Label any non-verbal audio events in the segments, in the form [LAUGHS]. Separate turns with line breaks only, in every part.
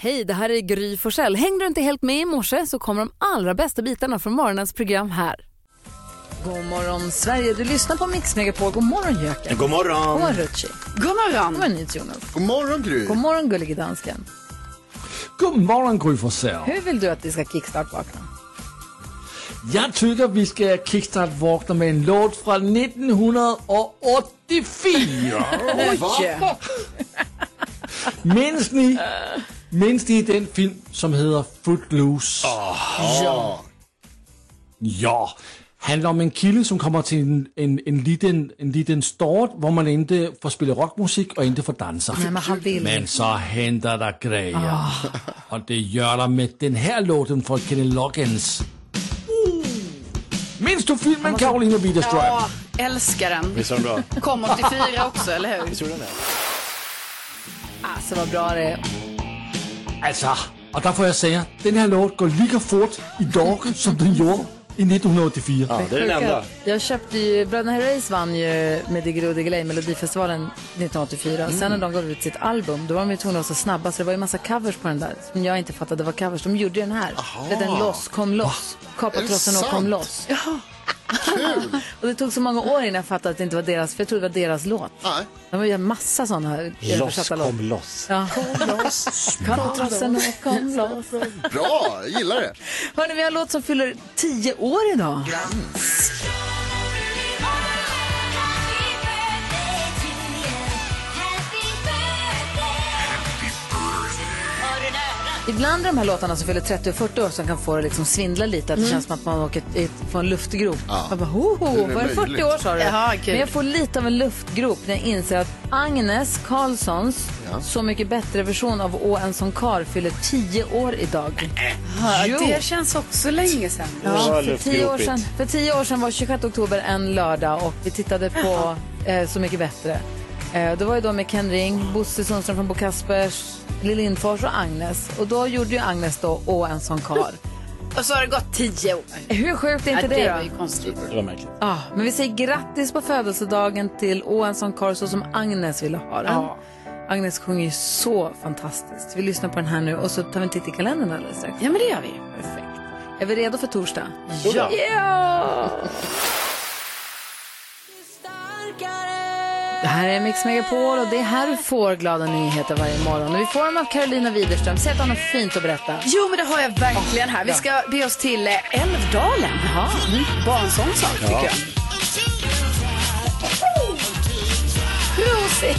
Hej, det här är Gry Forssell. Hängde du inte helt med i morse så kommer de allra bästa bitarna från morgonens program här. God morgon Sverige, du lyssnar på Mix Megapol. God morgon Jöken.
God
God
morgon!
morgon Rutschi. God morgon. God morgon Jonas.
God morgon Gry!
God morgon gullige dansken.
God morgon Gry Forssell.
Hur vill du att vi ska kickstart-vakna?
Jag tycker vi ska kickstart vakna med en låt från 1984.
Va?
minns ni? Minns ni den film som heter Footloose?
Ja.
Ja. Handlar om en kille som kommer till en, en, en liten, en liten stad där man inte får spela rockmusik och inte får dansa.
Nej, men han vill
Men så händer det grejer. Och det gör det med den här låten från Kenny Loggins. Minns du filmen Carolina Widerström?
Ja, älskar den.
Visst är den bra?
Kom 84 också, eller hur?
Visst är den det?
Alltså vad bra det är.
Alltså, och där får jag säga, den här låten går lika fort idag som den gjorde i 1984.
Ja, det är den enda.
Jag köpte ju, Bröderna Herreys vann ju med Diggiloo Diggiley Melodifestivalen 1984.
Mm.
Sen när de gav ut sitt album, då var de ju tvungna att vara så snabba så det var ju massa covers på den där som jag inte fattade var covers. De gjorde ju den här. Vet, Den loss, kom loss. Kapa
Är det
trossen och kom
sant?
loss. och det tog så många år innan jag fattade att det inte var deras, för jag trodde det var deras låt.
Nej.
De har ju en massa sådana här översatta låtar.
loss.
Ja. Kapa trossen och kom loss.
Bra, jag gillar det.
Hörni, vi har en låt som fyller tio år idag. Ibland är de här låtarna som fyller 30 och 40 år som kan få det liksom svindla lite.
Mm.
Att det känns som att man åker i- från en luftgrop. Man bara, ho, ho,
det
var det 40
möjligt?
år sa du?
Jaha, kul.
Men jag får lite av en luftgrop när jag inser att Agnes Carlssons Så mycket bättre version av Å en som kar fyller 10 år idag. Jo.
Det känns också länge sedan.
Ja,
var
för, tio år
luftgropigt.
sedan, för tio år sedan var 26 oktober en lördag och vi tittade på eh, Så mycket bättre. Eh, det var ju då med Ken Ring, Bosse Sundström från Bo Kaspers, Lill Lindfors och Agnes. Och då gjorde ju Agnes då Å en sån kar.
Och så har det gått tio år.
Hur sjukt är inte
ja, det
det
var
då?
ju konstigt.
Det var märkligt.
Ja, men vi säger grattis på födelsedagen till Å en sån kar så som Agnes ville ha den. Agnes sjunger ju så fantastiskt. Vi lyssnar på den här nu och så tar vi en titt i kalendern alldeles strax.
Ja, men det gör vi.
Perfekt. Är vi redo för torsdag?
Ja.
Det här är Mix Megapol och det är här du får glada nyheter varje morgon. Och vi får dem av Carolina Widerström. Säg att hon har något fint att berätta.
Jo, men det har jag verkligen här. Vi ska be oss till eh, Älvdalen.
Ja.
Mm. Bara en sån sak, tycker jag. Prosit!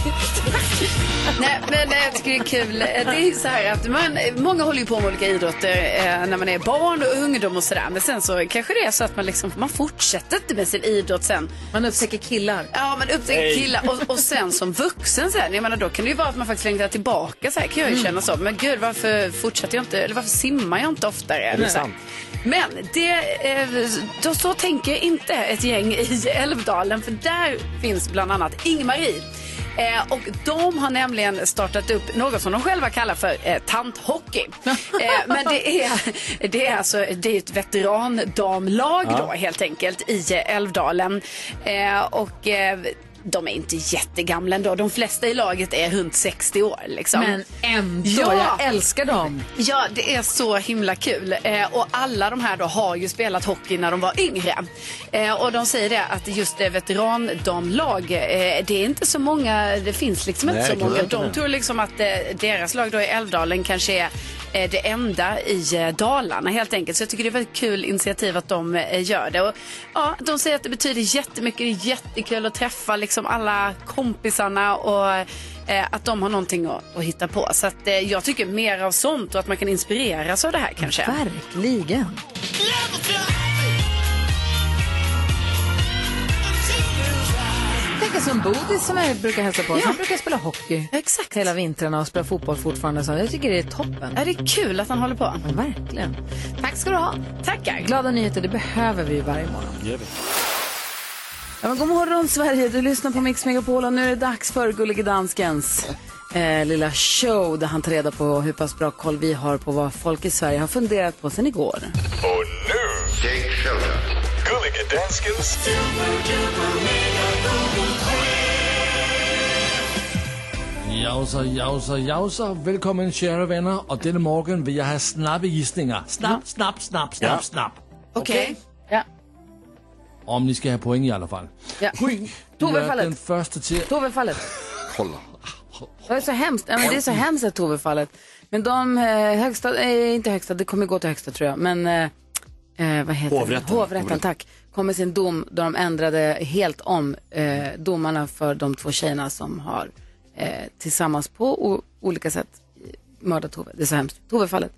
Nej, men eh, jag tycker det är kul. Eh, Det är ju så här att man, eh, många håller ju på med olika idrotter eh, när man är barn och ungdom och sådär. Men sen så kanske det är så att man liksom, man fortsätter inte med sin idrott sen.
Man upptäcker killar.
Ja, men upptäcker killar och, och sen som vuxen sen, jag menar då kan det ju vara att man faktiskt längtar tillbaka så här kan jag ju känna så. Men gud, varför fortsätter jag inte, eller varför simmar jag inte oftare? Eller så här. Men det, eh, då, så tänker inte ett gäng i Älvdalen för där finns bland annat Ingmarie. Eh, och de har nämligen startat upp något som de själva kallar för eh, tanthockey. Eh, men det är, det är alltså det är ett veterandamlag då helt enkelt i eh, Älvdalen. Eh, och eh, de är inte jättegamla ändå. De flesta i laget är runt 60 år. Liksom.
Men ändå,
Ja.
jag älskar dem.
Ja, det är så himla kul. Eh, och alla de här då har ju spelat hockey när de var yngre. Eh, och de säger det att just eh, veterandamlag, eh, det är inte så många, det finns liksom inte så många. De tror liksom att eh, deras lag då i Älvdalen kanske är eh, det enda i eh, Dalarna helt enkelt. Så jag tycker det är ett väldigt kul initiativ att de eh, gör det. Och, ja, de säger att det betyder jättemycket, det är jättekul att träffa liksom alla kompisarna och eh, att de har någonting att, att hitta på. Så att, eh, jag tycker mer av sånt och att man kan inspireras av det här kanske.
Verkligen. Tänk en som Bodis som jag brukar hälsa på. Han brukar spela hockey
Exakt.
hela vintrarna och spela fotboll fortfarande. Så jag tycker det är toppen.
Ja, det är kul att han håller på.
Verkligen. Tack ska du ha.
Tackar.
Glada nyheter, det behöver vi ju varje morgon. Ja, men god morgon Sverige, du lyssnar på Mix Megapol och nu är det dags för Gullige Danskens eh, lilla show där han tar reda på hur pass bra koll vi har på vad folk i Sverige har funderat på sedan igår.
Och nu, Jake Shelton. Gullige Danskens
Jausa, jausa, jausa. Velkommen, kære venner. Og denne morgen vil jeg have snappe isninger. Snap, snap, snap, snap,
Ja.
snap.
Okej. Ja.
Om ni skal have point i alle fald.
Ja.
Du
Tove
er
fallet.
den første til...
Tovefallet.
Kolla.
Det är så hemskt. Ja, men det är så hemskt att Tovefallet. Men de eh, högsta, eh, inte högsta, det kommer gå till högsta tror jag. Men eh, eh, vad heter
Hovrätten.
Det? Hovrätten, tack. Kom med sin dom då de ändrade helt om eh, domarna för de två tjejerna som har eh, tillsammans på o- olika sätt eh, mördat Tove. Det är så hemskt. Tovefallet.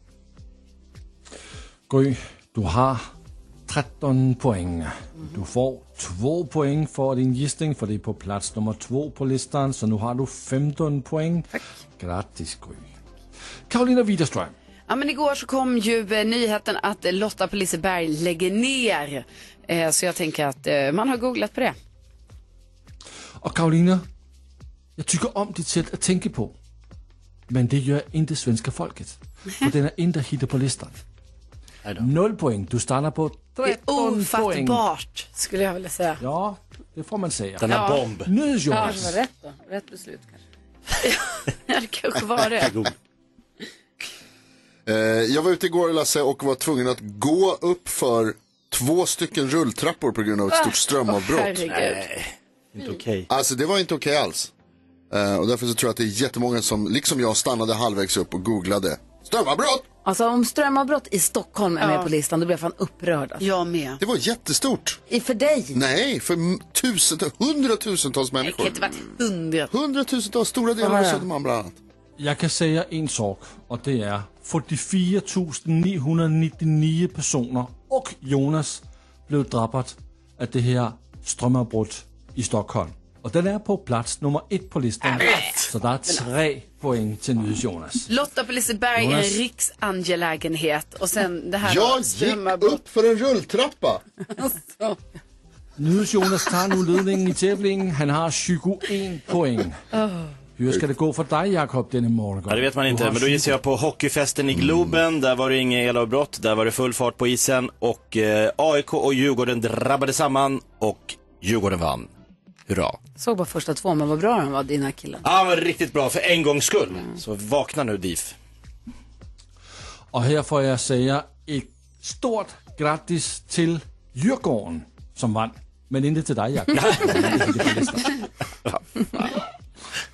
Gry, du har 13 point. Du får 2 point for din gissning, for det er på plads nummer 2 på listen, så nu har du 15 point. Grattis, Gry. Karolina Widerström.
Ja, men igår så kom ju eh, nyheten att eh, Lotta på Liseberg lägger ner. Eh, så jag tänker att eh, man har googlat på det.
Og Karolina, jeg tykker om dit sæt at tænke på. Men det gør ikke svenske folket. For den er ikke hitter på listen. 0 point. Du starter på
Det är
13 point.
ofattbart.
Skulle jag vilja säga.
Ja, det får man sige.
Den här bomb.
Nydes,
Ja,
Jonas.
det var rätt då. Rätt beslut kanske. [LAUGHS]
Ja, det kanske var det.
Varsågod.
Eh, jag var ute igår Lasse och var tvungen att gå upp för två stycken rulltrappor på grund av ett stort strömavbrott.
Ah, Herregud.
Inte okej.
Alltså det var inte okej alls. Eh, och därför så tror jag att det är jättemånga som, liksom jag, stannade halvvägs upp och googlade strömavbrott.
Alltså om strömavbrott i Stockholm är med på listan, då blir jag fan upprörd. Alltså.
Jag med.
Det var jättestort.
I- För dig.
Nej, för m- tusentals, hundratusentals
Det kan
människor.
inte varit hundra.
Hundratusentals, stora delar av Södermalm bland annat.
Jeg kan sige en sorg, og det er 44.999 personer og Jonas blev dræbt af det her strømafbrud i Stockholm. Og den er på plads nummer 1 på listen. Så der er 3 point til Nydes Jonas.
Lotta på Liseberg är en
Jonas.
riksangelägenhet. Och sen det här
Jag gick
strömavbrott.
upp för en rulltrappa.
Nydes Jonas tager nu ledningen i tævlingen. Han har 21 point. Hur skal det gå for dig, Jakob, denne morgen?
Ja, det vet man
Du
inte,
har
men då gissar jag på hockeyfesten
Mm.
i Globen. Där var det inga elavbrott, där var det full fart på isen och eh, AIK och Djurgården drabbade samman och Djurgården vann. Hurra.
Såg bara första två, men vad bra de var, dina killar.
Ja, ah, men riktigt bra för en gångs skull.
Mm.
Så vakna nu DIF.
Og her får jeg sige et stort grattis til Djurgården, som vandt. Men ikke til dig, Jakob.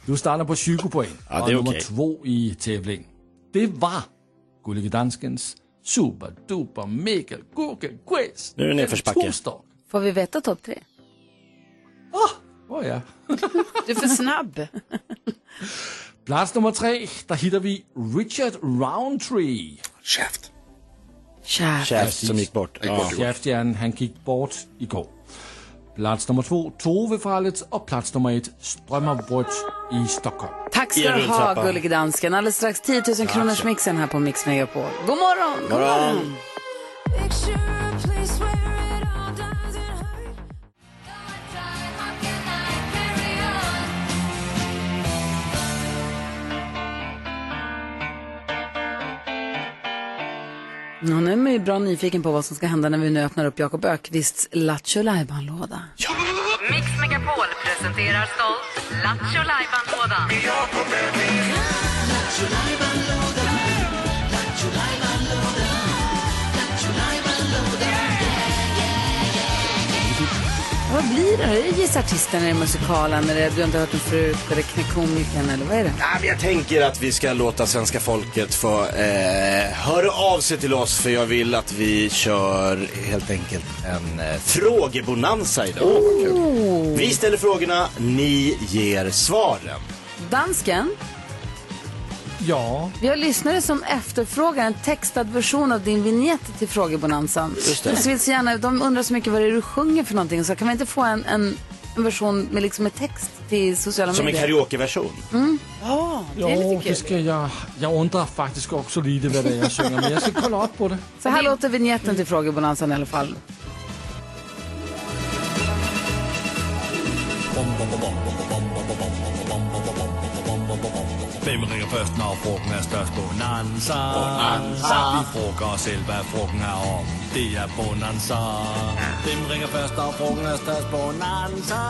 du starter på 20 point,
Ja, det er
og nummer
okay.
to i tævlingen. Det var Gullige Danskens super duper mega google quiz.
Nu er det nedförsbacke.
Torsdag.
Får vi veta topp tre?
Åh ja.
Du är för snabb.
Plads nummer tre, der hitter vi Richard Roundtree.
Käft.
Kär.
Chef som gick bort. Ja.
Chefstjernen, han gik bort i går. Plats nummer två, Tove Fallet, och plats nummer ett, Strömavbrott i Stockholm.
Tack ska du ha,
Rulltrappan.
gullig dansken. Alldeles strax 10 000 kronors mixen här på Mix Megapol. God morgon! God morgon! Ja, nu är man ju bra nyfiken på vad som ska hända när vi nu öppnar upp Jakob Ökvists Lattjo Lajban-låda.
Mix Megapol presenterar stolt Lattjo Lajban-lådan.
Vad blir det? Är det gissartisten, är det musikalen, är det du inte hört den förut, är det knäckkomikern eller vad är det?
Ja, men jag tänker att vi ska låta svenska folket få eh, höra av sig till oss för jag vill att vi kör helt enkelt en eh, frågebonanza idag. Vi ställer frågorna, ni ger svaren.
Dansken,
Ja,
vi har lyssnare som efterfrågar en textad version av din vignett till frågebonanzan.
Just det.
De vill så gärna, de undrar så mycket vad det är du sjunger för någonting, så kan vi inte få en, en, en version med liksom med text till sociala
Som en
medier? Mm.
karaokeversion.
jo, det skal jeg. Jeg undrer faktisk også lidt, hvad det er, jeg synger, men jeg skal kolla op på det.
Så här låter vignetten till frågebonanzan i alla fall.
Hvem ringer først, når frugten er størst? Bonanza. Bonanza. Vi frugger os selv, hvad frugten er om. Det er Bonanza. Hvem ringer først, når frugten er størst? Bonanza.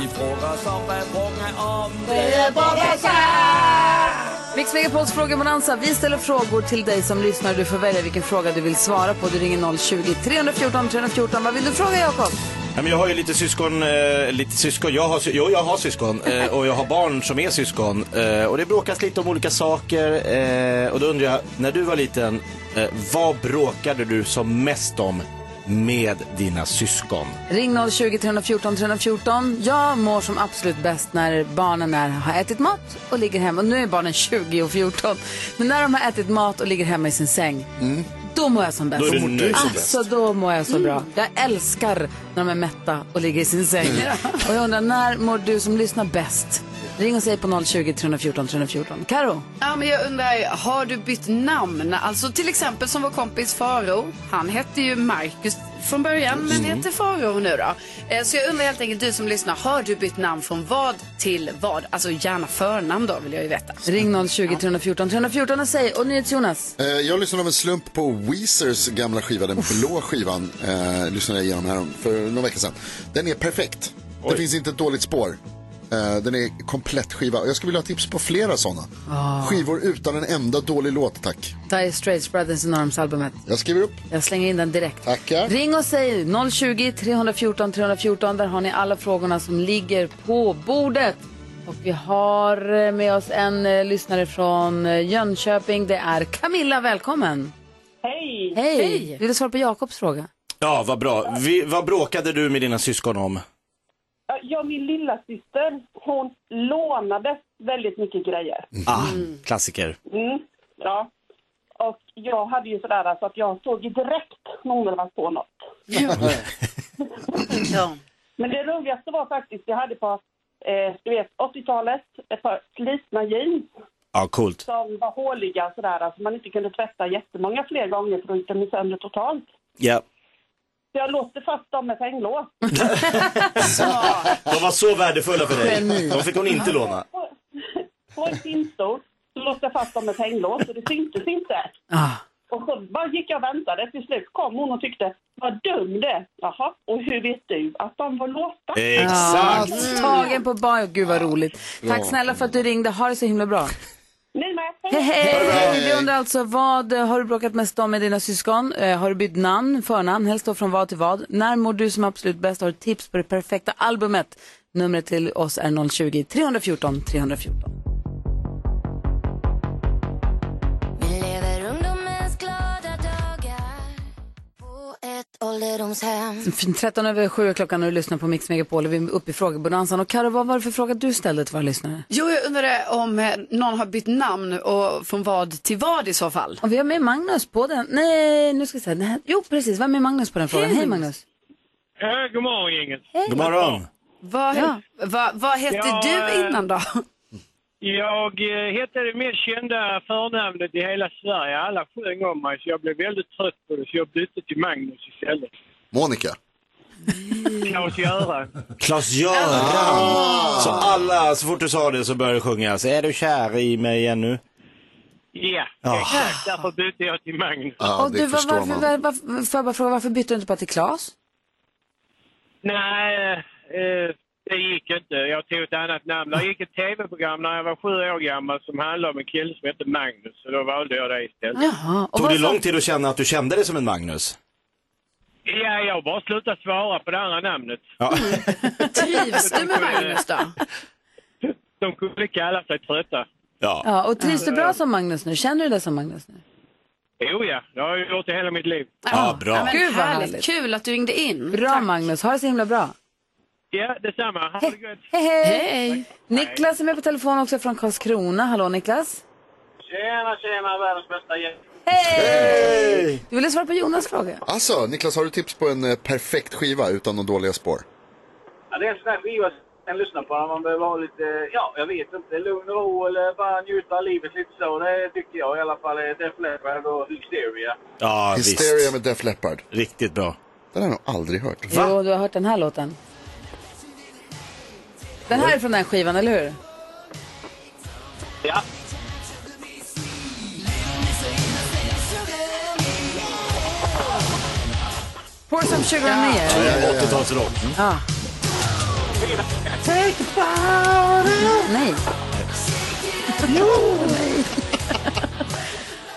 Vi frugger os op, hvad frugten er om. Det er
Mix Megapols frågebonanza. Vi ställer frågor till dig som lyssnar. Du får välja vilken fråga du vill svara på. Du ringer 020-314 314. Vad vill du fråga, Jakob?
Ja, men jag har ju lite syskon, eh, lite syskon. Jag har, sy- jo, jag har syskon eh, och jag har barn som är syskon. Eh, och det bråkas lite om olika saker. Eh, och då undrar jag, när du var liten, eh, vad bråkade du som mest om med dina syskon?
Ring 020-314 314. Jag mår som absolut bäst när barnen är, har ätit mat och ligger hemma. Och nu är barnen 20 och 14. Men när de har ätit mat och ligger hemma i sin säng,
Mm.
då mår jag som bäst.
Då är du Då mår du nöjd som
alltså, då mår jag så bra. Jag älskar när de är mätta och ligger i sin säng. [LAUGHS] Och jag undrar, när mår du som lyssnar bäst? Ring och säg på 020-314 314. Karo?
Ja, men jag undrar, har du bytt namn? Alltså till exempel som vår kompis Faro. Han hette ju Marcus från början, men heter Faro nu då. Eh, Så jag undrar helt enkelt, du som lyssnar, har du bytt namn från vad till vad? Alltså gärna förnamn då, vill jag ju veta.
Ring 020 314 314 och säg, och NyhetsJonas.
Eh, Jag lyssnade av en slump på Weezers gamla skiva, den blå skivan. Eh, lyssnade jag igenom här för någon vecka sedan. Den är perfekt. Det finns inte ett dåligt spår. Eh, den är komplett skiva. Jag skulle vilja ha tips på flera sådana.
Ah.
Skivor utan en enda dålig låt, tack.
Dire Straits Brothers in Arms-albumet.
Jag skriver upp.
Jag slänger in den direkt.
Tackar.
Ring och säg 020-314 314. Där har ni alla frågorna som ligger på bordet. Och vi har eh, med oss en eh, lyssnare från eh, Jönköping. Det är Camilla, välkommen. Hej! Hej! Vill du svara på Jakobs fråga?
Ja, vad bra. Vi, vad bråkade du med dina syskon om?
Ja, min lilla syster, hon lånade väldigt mycket grejer.
Ah, klassiker.
Mm, ja. Och jag hade ju sådär alltså att jag såg ju direkt när hon höll på något.
Ja.
Men det roligaste var faktiskt, jag hade på eh, du vet, 80-talet ett par slitna jeans
Ja, coolt.
som var håliga och sådär. Alltså man inte kunde tvätta jättemånga fler gånger för då gick de ju sönder totalt.
Ja.
Så jag låste fast dem med hänglås.
De var så värdefulla för dig. De fick hon inte låna.
På- På ett simstol så låste jag fast dem med ett hänglås och det syntes inte.
Ah.
Och så bara gick jag och väntade. Till slut kom hon och tyckte, vad dum det är." Jaha, och hur vet du att de var låsta?
Exakt.
Ja, Ah, tagen på bar. Gud vad roligt. Tack snälla för att du ringde. Ha det så himla bra.
Nej, men,
Hej, hej!
Hej.
Vi undrar alltså, vad eh, har du bråkat mest om med dina syskon? Eh, har du bytt namn, förnamn, helst då från vad till vad? När mår du som absolut bäst? Har du tips på det perfekta albumet? Numret till oss är 020-314 314.
Vi lever ungdomens glada dagar på ett ålderdomshem.
Fin- 13 över 7 är klockan när du lyssnar på Mix Megapol och vi är uppe i frågebonanzan. Och Karo, vad var det för fråga du ställde till våra lyssnare?
Jo, jag undrar om eh, någon har bytt namn och från vad till vad i så fall.
Och vi har med Magnus på den. Nej, nu ska vi se. Nej, Jo, precis. Vi har med Magnus på den frågan. Hej Magnus.
Ja, god morgon gänget.
God morgon.
Vad,
Ja.
vad, vad hette
Ja, eh,
du innan då?
Jag eh, hette det mest kända förnamnet i hela Sverige. Alla sjöng om mig så jag blev väldigt trött på det så jag bytte till Magnus istället.
Monica.
Claes-Göran.
Klas-Göran. Så alla, så fort du sa det så började du sjunga. Så är du kär i mig ännu?
Ja,
Ja.
exakt. Därför bytte jag till Magnus.
Ja,
och
det
du, var,
förstår
varför,
man.
var, varför, får jag bara fråga, varför bytte du inte bara till Claes?
Nej, eh, det gick inte. Jag tog ett annat namn. Det gick ett tv-program när jag var sju år gammal som handlade om en kille som hette Magnus. Så då valde jag det istället.
Jaha. Och
Tog det
varför-
lång tid att känna att du kände dig som en Magnus?
Ja, jag bara slutade svara på det andra namnet.
Ja. [LAUGHS]
Trivs du med Magnus då?
De kunde kalla sig trötta. Mm.
ja.
Ja, och trivs du bra som Magnus nu? Känner du dig som Magnus nu?
Jo, ja. Det har jag gjort i hela mitt liv.
Ja, bra.
men
Gud, vad
härligt.
härligt.
Kul att du ringde in.
Bra Magnus, ha det så himla bra.
Ja, detsamma. Ha det gött.
Hej, hej!
Hej.
Niklas är med på telefon också från Karlskrona. Hallå Niklas!
Tjena, tjena, världens bästa gäng.
Du ville svara på Jonas fråga?
Alltså, Niklas, har du tips på en eh, perfekt skiva utan några dåliga spår?
Ja, det är en sån här skiva som man lyssnar på när man behöver ha lite, ja, jag vet inte, lugn och ro eller bara njuta av livet lite så. Det tycker jag i alla fall är Def Leppard och Hysteria.
ja visst.
Hysteria med Def Leppard.
Riktigt bra.
Den har jag nog aldrig hört.
Jo, du har hört den här låten. Den här är från den här skivan, eller hur?
Ja.
Pour some sugar on me.
Ja,
eller?
ja, ja. 80-talsrock.
Ja. Take the powder. Nej. Jo. Nej. [LAUGHS]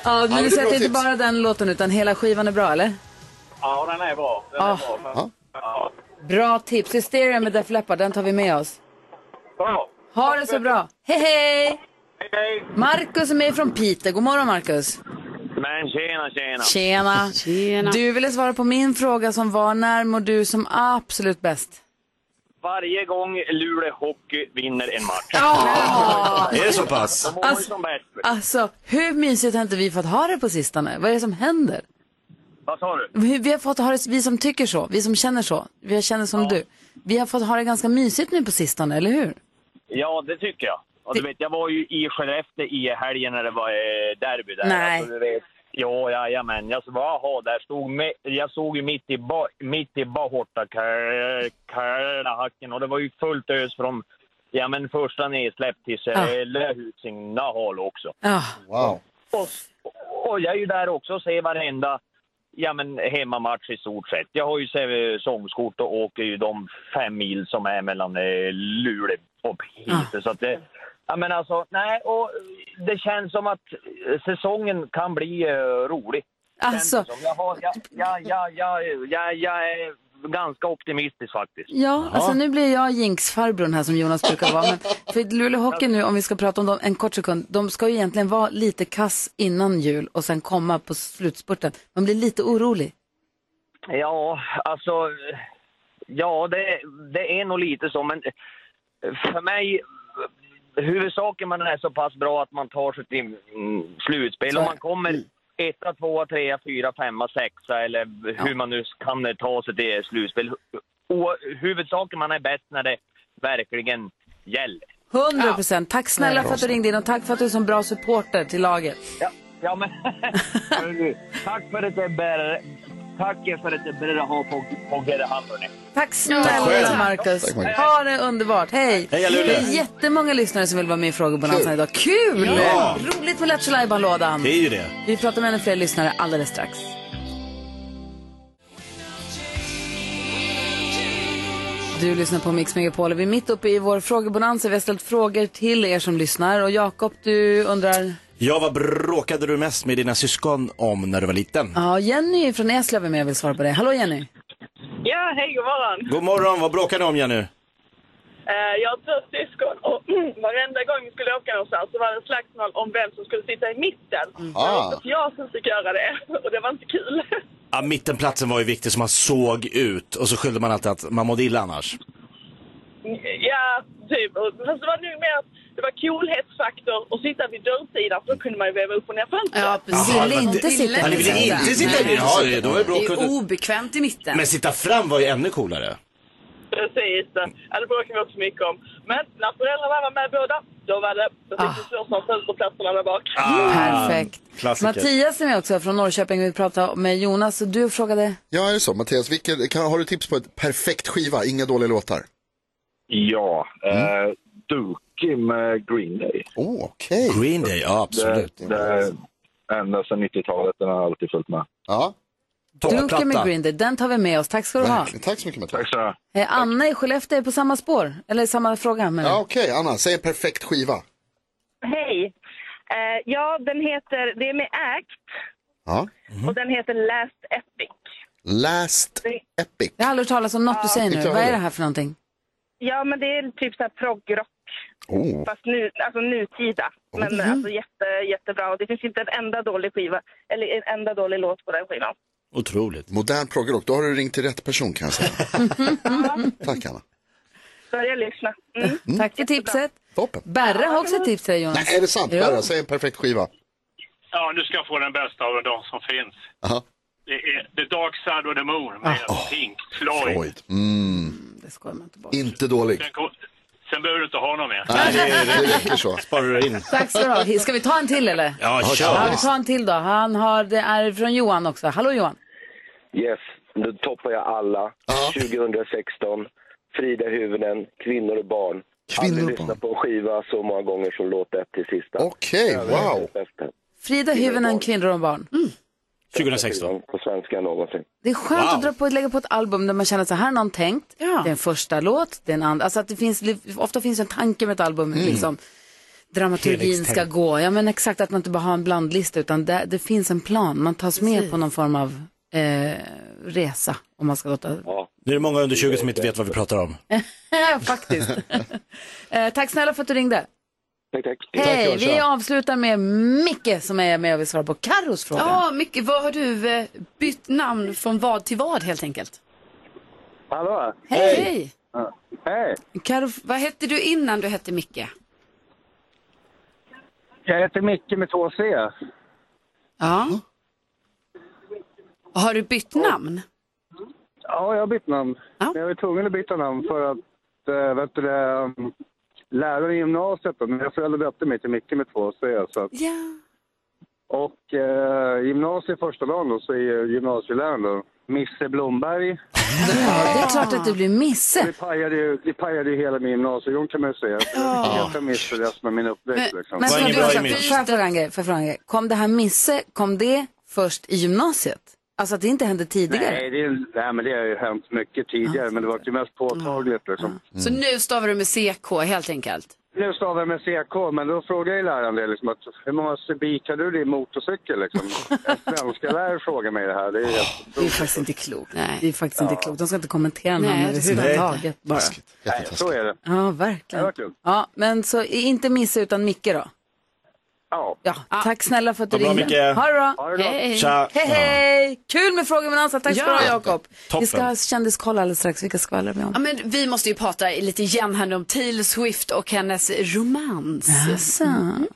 Ja,
men
men
det
du
är
säger att
bra
det inte
tips.
bara den låten utan hela skivan är bra, eller?
Ja, den är bra. Den
Ah.
är bra. Men, ja.
Bra tips. Hysteria med Def Leppard, den tar vi med oss.
Bra.
Ha det så bra. Hej, hej! Markus är med från Piteå. God morgon, Markus.
Men tjena, tjena.
Tjena.
Tjena.
Du ville svara på min fråga som var när mår du som absolut bäst?
Varje gång Luleå Hockey vinner en match.
Ja!
Är det så pass?
Då mår vi som bäst.
Alltså, hur mysigt har inte vi fått ha det på sistone? Vad är det som händer?
Vad sa du?
Vi, vi har fått ha det, vi som tycker så, vi som känner så, vi känner som du. Vi har fått ha det ganska mysigt nu på sistone, eller hur?
Ja, det tycker jag. Och du vet, jag var ju i Skellefteå i helgen när det var eh, derby där.
Nej.
Alltså, du vet. Jo, jajamän. Jag såg, aha, där stod med, jag såg ju mitt i, ba, mitt i bahorta Kär- Kärnahacken och det var ju fullt ös från ja, men första nedsläpp till Sällehusingahal också.
Ja.
Wow.
Och jag är ju där också och ser varenda ja, men hemmamatch i stort sett. Jag har ju säsongskort och åker ju de fem mil som är mellan eh, Luleå och
Ah.
Piteå. Så att det, ja, men alltså, nej, och det känns som att eh, säsongen kan bli eh, rolig. Känns
Alltså.
det som. Jag, har, jag, jag, jag, jag, jag, jag är ganska optimistisk faktiskt.
Ja, alltså nu blir jag jinxfarbrorn här som Jonas brukar vara. Men för Luleå Hockey nu, om vi ska prata om dem en kort sekund, de ska ju egentligen vara lite kass innan jul och sen komma på slutspurten. Man blir lite orolig.
Ja, alltså... Ja, det, det är nog lite så, men för mig... Huvudsaken man är så pass bra att man tar sig till mm, slutspel. Om man
Mm.
kommer etta, tvåa, trea, fyra, femma, sexa eller hur man nu kan eh, ta sig till slutspel. O, huvudsaken man är bäst när det verkligen gäller.
100 procent. Tack snälla
Ja.
för att du ringde in och tack för att du är som bra supporter till laget.
[LAUGHS]
Ja, men... Hörru, Tack för att det bär... Tack för att det bär att ha på, på Gerhard, hörni.
Tack
Tack
snälla
själv.
Marcus.
Tack, Marcus.
Ha det underbart. Hej!
Heja, Luleå.
det är jättemånga lyssnare som vill vara med i Frågebonanza
Kul.
idag. Kul!
Ja.
Roligt med Lattjo Lajban-lådan.
Det är ju det.
Vi pratar med ännu fler lyssnare alldeles strax. Du lyssnar på Mix Megapol och vi är mitt uppe i vår frågebonanza. Vi har ställt frågor till er som lyssnar och Jakob du undrar?
Ja, vad bråkade du mest med dina syskon om när du var liten?
Ja, Jenny från Eslöv är med och vill svara på det. Hallå Jenny!
Ja, hej, god morgon.
God morgon, vad bråkade ni om Jenny?
Eh, jag har två syskon och [CLEARS THROAT] varenda gång vi skulle åka någonstans så var det en slagsmål om vem som skulle sitta i mitten. Det var
Ah.
oftast jag som fick göra det [LAUGHS] och det var inte kul.
Ja, mittenplatsen var ju viktig så man såg ut och så skyllde man alltid att man mådde illa annars.
Ja, typ. Fast det var nog mer att det var coolhetsfaktor att sitta vid dörrsidan för då kunde man ju veva upp och ner fönstret.
Ja, precis.
Jaha, det var det- Ja, ni ville
mitten.
inte sitta i mitten. Ja, det- då var det bra
Det är
kunde-
obekvämt i mitten.
Men sitta fram var ju ännu coolare.
Precis. Ja, det bråkar vi också mycket om. Men när föräldrarna var med båda, då var det... Då
Ah.
fick vi slåss om fönsterplatserna där bak.
Ah.
Ah.
Perfekt. Mattias är med också från Norrköping. Vi pratar med Jonas och du frågade?
Ja, är det så? Mattias, vilket, kan, har du tips på ett perfekt skiva? Inga dåliga låtar.
Ja, eh, Dookie med Green Day.
Oh, okej.
Green Day, ja absolut.
Det, det, ända sedan 90-talet, den har jag alltid följt med.
Ja.
Duken med Green Day, den tar vi med oss. Tack ska du ha.
Tack så mycket Mattias.
Tack så mycket.
Eh, Anna i Skellefteå är på samma spår, eller samma fråga. Men...
Ja, okej, Anna, säg en perfekt skiva.
Hej. Eh, ja, den heter, det är med ACT
Ja.
Mhm.
och den heter Last Epic.
Last Epic.
Jag har aldrig hört talas om något du säger nu.
inte jag
Vad är det
heller.
här för någonting?
Ja, men det är typ så här proggrock,
Oh.
fast nu, alltså nutida. Men
Mhm.
alltså jätte, jättebra. Och det finns inte en enda dålig skiva, eller en enda dålig låt på den skivan.
Otroligt.
Modern proggrock, då har du ringt till rätt person kan
[LAUGHS]
jag säga. Tack Anna. Mm.
Börja lyssna. Mm.
Tack för tipset.
Toppen.
Berre har också ett tips till dig, Jonas.
Nej, är det sant?
Jo.
Berra, säg en perfekt skiva.
Ja, nu ska jag få den bästa av de som finns.
Aha.
Det är The Dark Side of the Moon med
Ah.
Pink Floyd.
Floyd. Mm.
Det skojar man inte bort.
Inte dålig.
Sen, kom, sen behöver du inte ha någon mer.
Nej, det- det räcker så.
Sparar du in.
Tack ska du ha. Ska vi ta en till eller?
Ja, kör.
vi tar en till då. Han har, det är från Johan också. Hallå Johan.
Yes, nu toppar jag alla. 2016, Frida Huvuden, Kvinnor och barn. Aldrig lyssnat på en skiva så många gånger som låt ett till sista.
Okej,
wow. Frida Hyvönen, Kvinnor och barn.
2016. På svenska någonsin.
Det är skönt
Wow.
att dra på, lägga på ett album där man känner så här har någon tänkt. Det är en första låt, det är en andra. Alltså att det finns, ofta finns en tanke med ett album.
Mm.
Liksom, dramaturgin
Helhetstänk.
ska gå. Ja men exakt, att man inte bara har en blandlista utan det, det finns en plan. Man tas med
Precis.
på någon form av eh, resa om man ska låta.
Nu är det många under 20 som inte vet vad vi pratar om.
Faktiskt. eh, tack snälla för att du ringde.
Tack, tack.
Hej, vi avslutar med Micke som är med och vill svara på Carros fråga.
Ja, Micke, vad har du eh, bytt namn från vad till vad helt enkelt?
Hallå?
Hej! Hej.
Hej!
Karo, vad hette du innan du hette Micke?
Jag heter Micke med två C.
Ja. Har du bytt namn?
Ja, jag har bytt namn. Jag var tvungen att byta namn för att äh, vet du, det, um, läraren i gymnasiet, då, mina föräldrar döpte mig till Micke med två C. Så att,
Ja.
Och eh, gymnasiet första dagen då så är ju gymnasieläraren då, Misse Blomberg.
Ja, det är klart att du blir Misse.
Det pajade ju, det pajade ju hela min gymnasiegång kan man ju säga. Jag
Ja.
fick heta Misse resten av min uppväxt. Liksom.
Men får du också, får jag fråga en grej? Får jag fråga en grej? Kom det här misse, kom det först i gymnasiet? Alltså att det inte hände tidigare?
Nej, det, är- nej, men det har ju hänt mycket tidigare, men det var ju mest påtagligt. Liksom.
Så nu stavar du med CK helt enkelt?
Nu stavar jag med CK, men då frågar jag läraren det, liksom, att, hur många kubik har du i din motorcykel? Liksom? En svenska lärare frågar mig det här. Det är helt
Det är faktiskt inte klokt. Det är faktiskt inte klokt. De ska inte kommentera
Nej,
någon
det ska de inte.
överhuvudtaget bara.
Nej, så är det.
Ja,
Det
verkligen.
var kul.
Ja, men så är inte misse utan Micke då?
Ja.
Tack snälla för att du
Vad bra,
ringde.
Micke.
Ha det bra.
Ha det bra.
Hej,
Tja.
hej. hej. Kul med frågor med Ansa. Tack ska du ha
Ja.
Jakob. Vi
Toppen.
ska ha kändiskoll alldeles strax. Vilka skvallrar vi om?
Ja, men vi måste ju prata lite igen här nu om Taylor Swift och hennes romans.
Jaså.
Mm.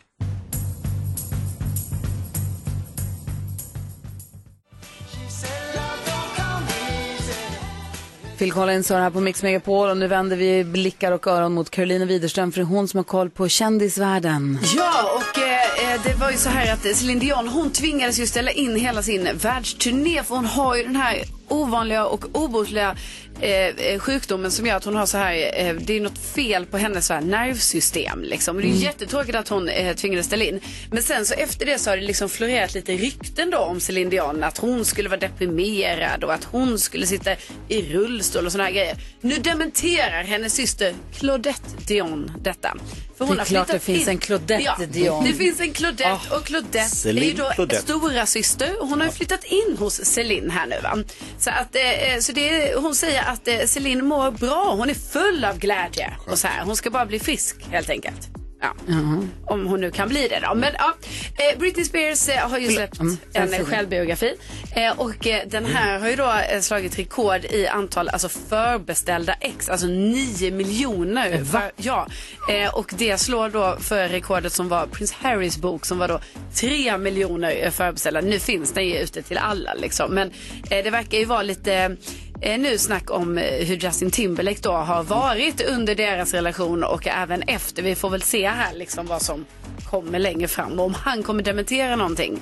Phil Collins hör här på Mix Megapol och nu vänder vi blickar och öron mot Carolina Widerström för det är hon som har koll på kändisvärlden.
Ja, och eh, eh, det var ju så här att Celine Dion hon tvingades ju ställa in hela sin världsturné för hon har ju den här ovanliga och obotliga eh, eh, sjukdomen som gör att hon har så här, eh, det är något fel på hennes så här nervsystem liksom. Det är ju
Mm.
jättetråkigt att hon eh, tvingades ställa in. Men sen så efter det så har det liksom florerat lite rykten då om Celine Dion. Att hon skulle vara deprimerad och att hon skulle sitta i rullstol och såna här grejer. Nu dementerar hennes syster Claudette Dion detta. För
Det är klart
flyttat
det finns en Claudette Dion. Ah,
Det finns en Claudette och Claudette
Celine
är ju då
Claudette.
stora syster. Hon har ju flyttat in hos Celine här nu va. Så, att, eh, så det, är- hon säger att eh, Celine mår bra. Hon är full av glädje och så här. Hon ska bara bli frisk helt enkelt. Ja. Om hon nu kan bli det då. Men ja, eh, Britney Spears eh, har ju släppt
Mm.
en eh, självbiografi. Eh, Och eh, den här har ju då eh, slagit rekord i antal alltså förbeställda ex. Alltså 9 miljoner.
Va?
För- Ja. Eh, Och det slår då för rekordet som var prins Harrys bok som var då 3 miljoner eh, förbeställda. Nu finns den ju ute till alla liksom. Men eh, det verkar ju vara lite eh, nu snack om eh, hur Justin Timberlake då har varit under deras relation och även efter. Vi får väl se här liksom vad som kommer längre fram och om han kommer dementera någonting.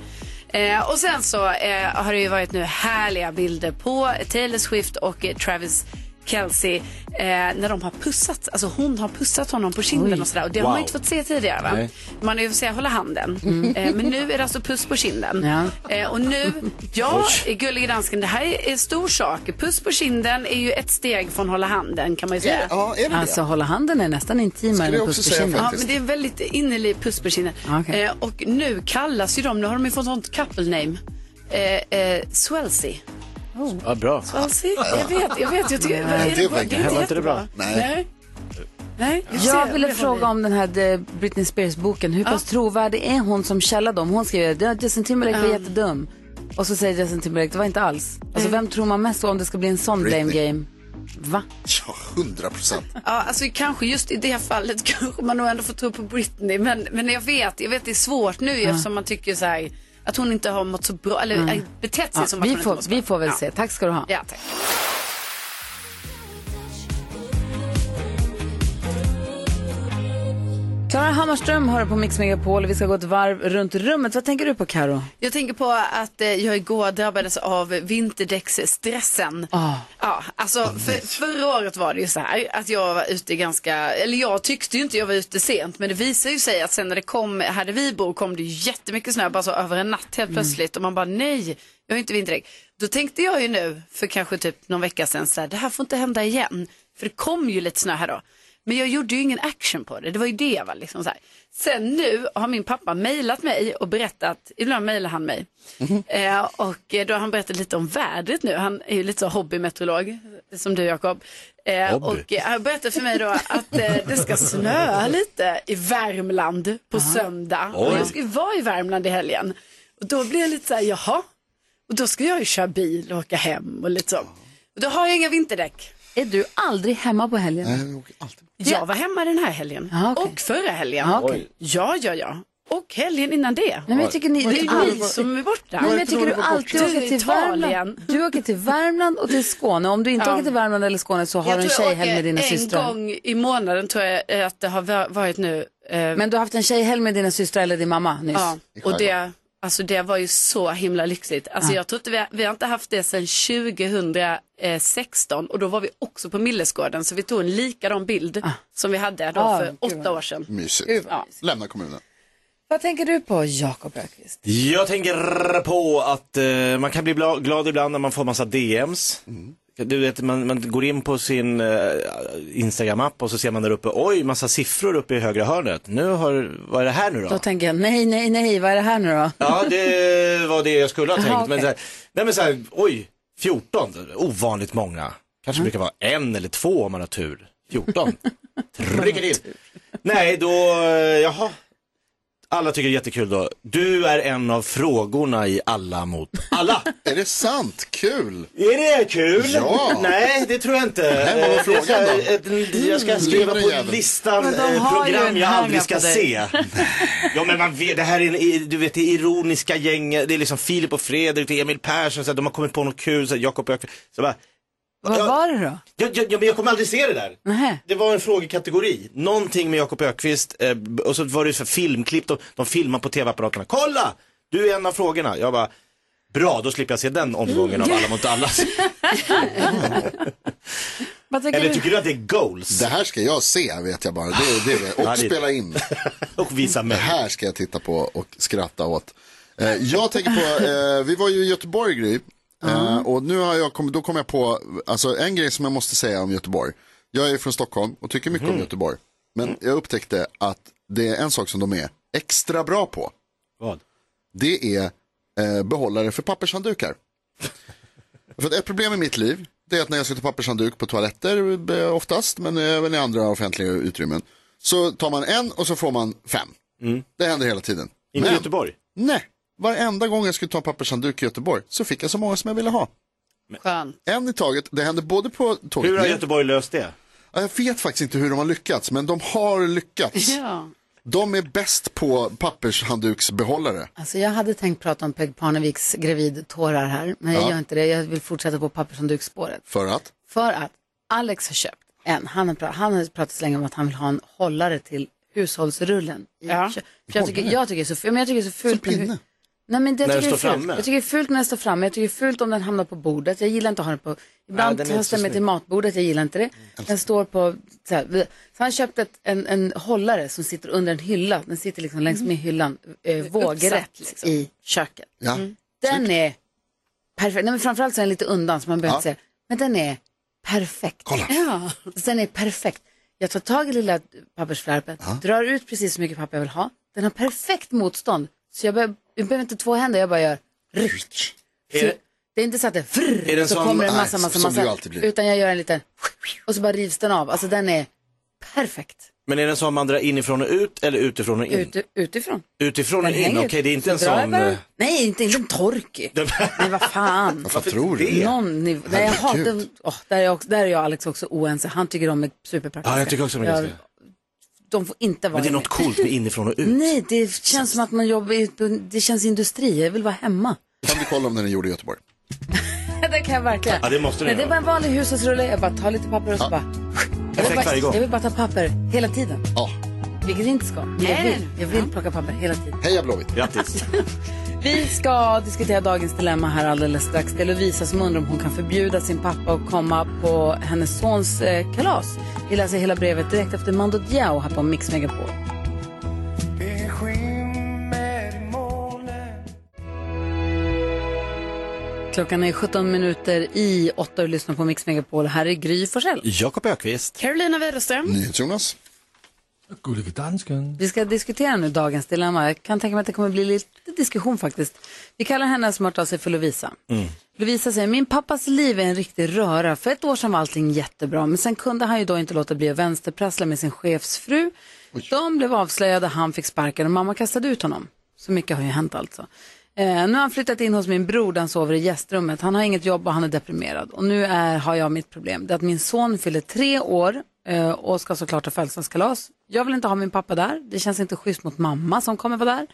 Eh, och sen så eh, har det ju varit nu härliga bilder på Taylor Swift och eh, Travis Kelce eh, när de har pussats. Alltså hon har pussat honom på kinden
Oj.
och sådär. Och det har man
Wow.
ju inte fått se tidigare. Va?
Nej.
Man har ju fått se hålla handen.
Mm.
Eh, men nu är det alltså puss på kinden. Eh, och nu, ja, gullig dansken, det här är en stor sak. Puss på kinden är ju ett steg från hålla handen kan man ju säga.
Alltså hålla handen är nästan intimare än puss på kinden.
Ja, men det är väldigt innerlig puss på kinden.
Ah, Okej.
Eh, och nu kallas ju de, nu har de ju fått sånt couple name, eh, eh, Swelzy.
Oh.
Ja, bra.
Swelzy? Jag vet, jag vet. Jag
Nej,
tycker, vad är
det
det,
var-
det
det
är
var
inte
inte det
jättebra.
bra.
Nej. Nej. jag ser.
Jag ville
Det var
fråga
det.
om den här eh, Britney Spears-boken. Hur pass trovärdig är hon som källa då? Om Hon skriver att "Ja, Justin Timberlake var
Ja. Mm.
jättedum. Och så säger Justin Timberlake, det var inte alls. Alltså vem tror man mest på om det ska bli en sån
Britney.
blame game? Va?
Ja, hundra procent.
Ja, alltså kanske just i det fallet [LAUGHS] kanske man nog ändå får tro på Britney. Men, men jag vet, jag vet det är svårt nu
Ja.
eftersom man tycker så här att hon inte har mått så bra, eller
Nej.
äh, betett sig
Mm. Ja,
som att
vi,
hon inte mår så
får, vi
bra.
får väl
ja.
se. Tack ska du ha.
Ja, tack.
Klara Klara Hammarström hör på Mix Megapol. Vi ska gå ett varv runt rummet. Vad tänker du på Karo?
Jag tänker på att eh, jag igår drabbades av vinterdäcksstressen.
Ah.
Ja, alltså för, förra året var det ju så här att jag var ute ganska, eller jag tyckte ju inte jag var ute sent, men det visar ju sig att sen när det kom, här där vi bor, kom det ju jättemycket snö bara så över en natt helt
Mm.
plötsligt och man bara nej, jag har inte vinterdäck. Då tänkte jag ju nu för kanske typ någon vecka sedan så här, det här får inte hända igen, för det kom ju lite snö här då. Men jag gjorde ju ingen action på det, det var ju det va, liksom så här. Sen nu har min pappa mejlat mig och berättat, ibland mejlar han mig, Eh, och eh, då har han berättat lite om vädret nu. Han är ju lite så hobbymeteorolog som du Jakob. Eh,
Hobby?
och eh, han berättade för mig då att eh, det ska snöa lite i Värmland på söndag. Och
Oj.
jag ska ju vara i Värmland i helgen. Och då blir jag lite så här, jaha. Och då ska jag ju köra bil och åka hem och lite så. Och då har jag inga vinterdäck.
Är du aldrig hemma på helgen?
Jag var hemma den här helgen. Och förra helgen.
Ja, okej.
Ja, ja, ja. Och helgen innan det. Nej,
men jag tycker ni-
det
du
är ju ni
all-
som är borta.
Nej, men jag tycker du alltid åker till Värmland. Du åker till Värmland och till Skåne. Om du inte
Ja.
åker till Värmland eller Skåne så har
jag
du en
tror jag
tjejhelg
åker
med dina
en
systrar.
gång i månaden tror jag eh, att det har va- varit nu. eh,
Men du har haft en tjejhelg med dina systrar eller din mamma nyss?
Ja, och det, alltså det var ju så himla lyxigt. Alltså
Ja.
jag tror inte vi, har, vi har inte haft det sedan 2016 och då var vi också på Millesgården så vi tog en likadan bild som vi hade då
Ah,
för
gud
åtta år sedan.
Mysigt.
Ja.
Lämna kommunen.
Vad tänker du på Jakob Öqvist?
Jag tänker på att eh, man kan bli bla- glad ibland när man får massa DMs.
Mm.
Du vet, man, man går in på sin eh, Instagram-app och så ser man där uppe, oj, massa siffror uppe i högra hörnet. Nu har, vad är det här nu
Då
då?
tänker jag, nej, nej, nej, vad är det här nu då?
Ja, det var det jag
[LAUGHS]
skulle ha tänkt.
Jaha,
Men,
okej.
så här, nej, men så här, oj, 14, ovanligt många.
Mm.
Kanske brukar vara en eller två om man har tur.
[LAUGHS]
14, trycker till. Nej, då, eh, jaha. Alla tycker det är jättekul då. Du är en av frågorna i Alla mot alla.
är det sant? Kul!
Är det kul?
Ja.
Nej, det tror jag inte.
Nej, vad var
Eh, det
frågan
ska-
då?
eh, Jag ska
Mm,
skriva
luren
på
jävel.
listan
Men de
eh,
har ju
program
en
jag
hanga
aldrig
på
ska
dig. [LAUGHS]
se. Ja men man vet, det här är en, i- du vet det ironiska gänget, det är liksom Filip och Fredrik, det är Emil Persson, så här, de har kommit på något kul, så här, Jakob och Jakob. Så bara,
Vad var det då?
jag, jag, jag, men jag kommer aldrig se det där.
Nähä.
Det var en frågekategori, någonting med Jakob Ökvist eh, b- och så var det så här filmklipp, de, de filmar på tv-apparaterna. Kolla! Du är en av frågorna. Jag bara, bra då slipper jag se den omgången
Mm.
av Alla mot
[LAUGHS]
alla.
Vad tänker du?
du att det är goals?
Det här ska jag se, vet jag bara. Det, det, det.
[LAUGHS] Ja,
Och
det-
spela in.
och visa mig.
Det här ska jag titta på och skratta åt. Eh, Jag tänker på, eh, vi var ju i Göteborg Gry. Eh, Och nu har jag kommit, då kom jag på, alltså en grej som jag måste säga om Göteborg. Jag är från Stockholm och tycker mycket om
Mhm.
Göteborg. Men jag upptäckte att det är en sak som de är extra bra på.
Vad?
Det är eh, behållare för pappershanddukar. För att ett problem i mitt liv, det är att när jag ska ta pappershandduk på toaletter eh, oftast, men även i andra offentliga utrymmen, så tar man en och så får man fem. Det händer hela tiden.
Inte Mm. i Göteborg?
Nej, varenda gång jag skulle ta pappershandduk i Göteborg så fick jag så många som jag ville ha.
Skönt.
En i taget, det händer både på tåget.
Hur har Göteborg löst det?
Ja, Jag vet faktiskt inte hur de har lyckats, men de har lyckats.
Ja.
De är bäst på pappershandduksbehållare.
Alltså jag hade tänkt prata om Peg Parneviks gravidtårar här, men jag
Ja.
gör inte det. Jag vill fortsätta på pappershanddukspåret.
För att?
För att Alex har köpt en, han har, pra- han har pratat så länge om att han vill ha en hållare till hushållsrullen. i kö- För jag, tycker,
Hållare?
jag tycker det är så fult. Men jag tycker det är så fult med hu- Nej, men det,
När den
jag tycker det är
står
fult.
framme?
Jag tycker det är fult när den står framme. Jag tycker det är fult om den hamnar på bordet. Jag gillar inte att ha den på...
Ja,
Ibland
den är
tar jag
inte så
stämmer till
snygg.
matbordet. Jag gillar inte det. Den står på... Så, här, bleh. så han köpte ett, en, en hållare som sitter under en hylla. Den sitter liksom längs med hyllan. Eh, vågrätt
Mm. Uppsatt, liksom.
i köket.
Ja.
Mm.
Den är perfekt. Nej, men framförallt så är den lite undan så man behöver
Ja.
inte se. Men den är perfekt.
Kolla.
Ja. Den är perfekt. Jag tar tag i lilla pappersflärpen, drar ut precis så mycket papper jag vill ha. Den har perfekt motstånd. Så jag, behöver- jag behöver inte två händer, jag bara gör ryck.
Är det-
Det är inte så att det frrr,
Är den
så
som-
kommer det en
nej,
massa, massa,
som du
massa.
alltid blir.
Utan jag gör en liten och så bara rivs den av. Alltså den är perfekt.
Men är den som man drar inifrån och ut eller utifrån och in?
Ut, utifrån.
Utifrån och
Den
in,
hänger
okej
ut.
det är inte en
Så drar jag
sån...
bara-
eh,
Nej, inte, inte en torky. Nej, vad fan.
[LAUGHS] Varför tror du det?
Någon nivå. Nej, jag hatar,
Herregud.
Åh, där, är jag också, där är jag och Alex också oense. Han tycker de är superpraktiska.
Ja, jag tycker också de är
Jag-
ganska-
De får inte vara
Men det är
i
något
mig.
coolt med inifrån och ut.
Nej, det känns som att man jobbar i, det känns industri. Jag vill vara hemma. [LAUGHS]
Kan du kolla om den är gjord i Göteborg?
det kan jag verkligen.
Ja, det måste ni
Nej, det är
göra.
bara en vanlig hushållsrulle. Jag bara tar lite papper och så bara. Jag vill,
Perfekt
bara
varje gång.
jag vill bara ta papper hela tiden.
Ja.
Vilket inte ska. Jag vill, jag vill plocka papper hela tiden.
Heja
[LAUGHS]
Blåvitt!
Grattis!
Vi ska diskutera dagens dilemma här alldeles strax. Det är Lovisa som undrar om hon kan förbjuda sin pappa att komma på hennes sons eh, kalas. Vi läser hela brevet direkt efter Mando Diao här på Mix Megapol. Klockan är 17 minuter i 8 och du lyssnar på Mix Megapol. Här är Gry Forssell.
Jakob Ökvist.
Carolina Widerström.
NyhetsJonas.
Gullige dansken.
Vi ska diskutera nu dagens dilemma. Jag kan tänka mig att det kommer bli lite diskussion faktiskt. Vi kallar henne som har hört av sig för Lovisa. Lovisa säger, min pappas liv är en riktig röra. För ett år sedan var allting jättebra, men sen kunde han ju då inte låta bli att vänsterprassla med sin chefsfru. De blev avslöjade, han fick sparken och mamma kastade ut honom. Så mycket har ju hänt alltså. Eh, nu har han flyttat in hos min bror där han sover i gästrummet. Han har inget jobb och han är deprimerad. Och nu är, har jag mitt problem. Det är att min son fyller tre år eh, och ska såklart ha födelsedagskalas. Jag vill inte ha min pappa där. Det känns inte schysst mot mamma som kommer vara där.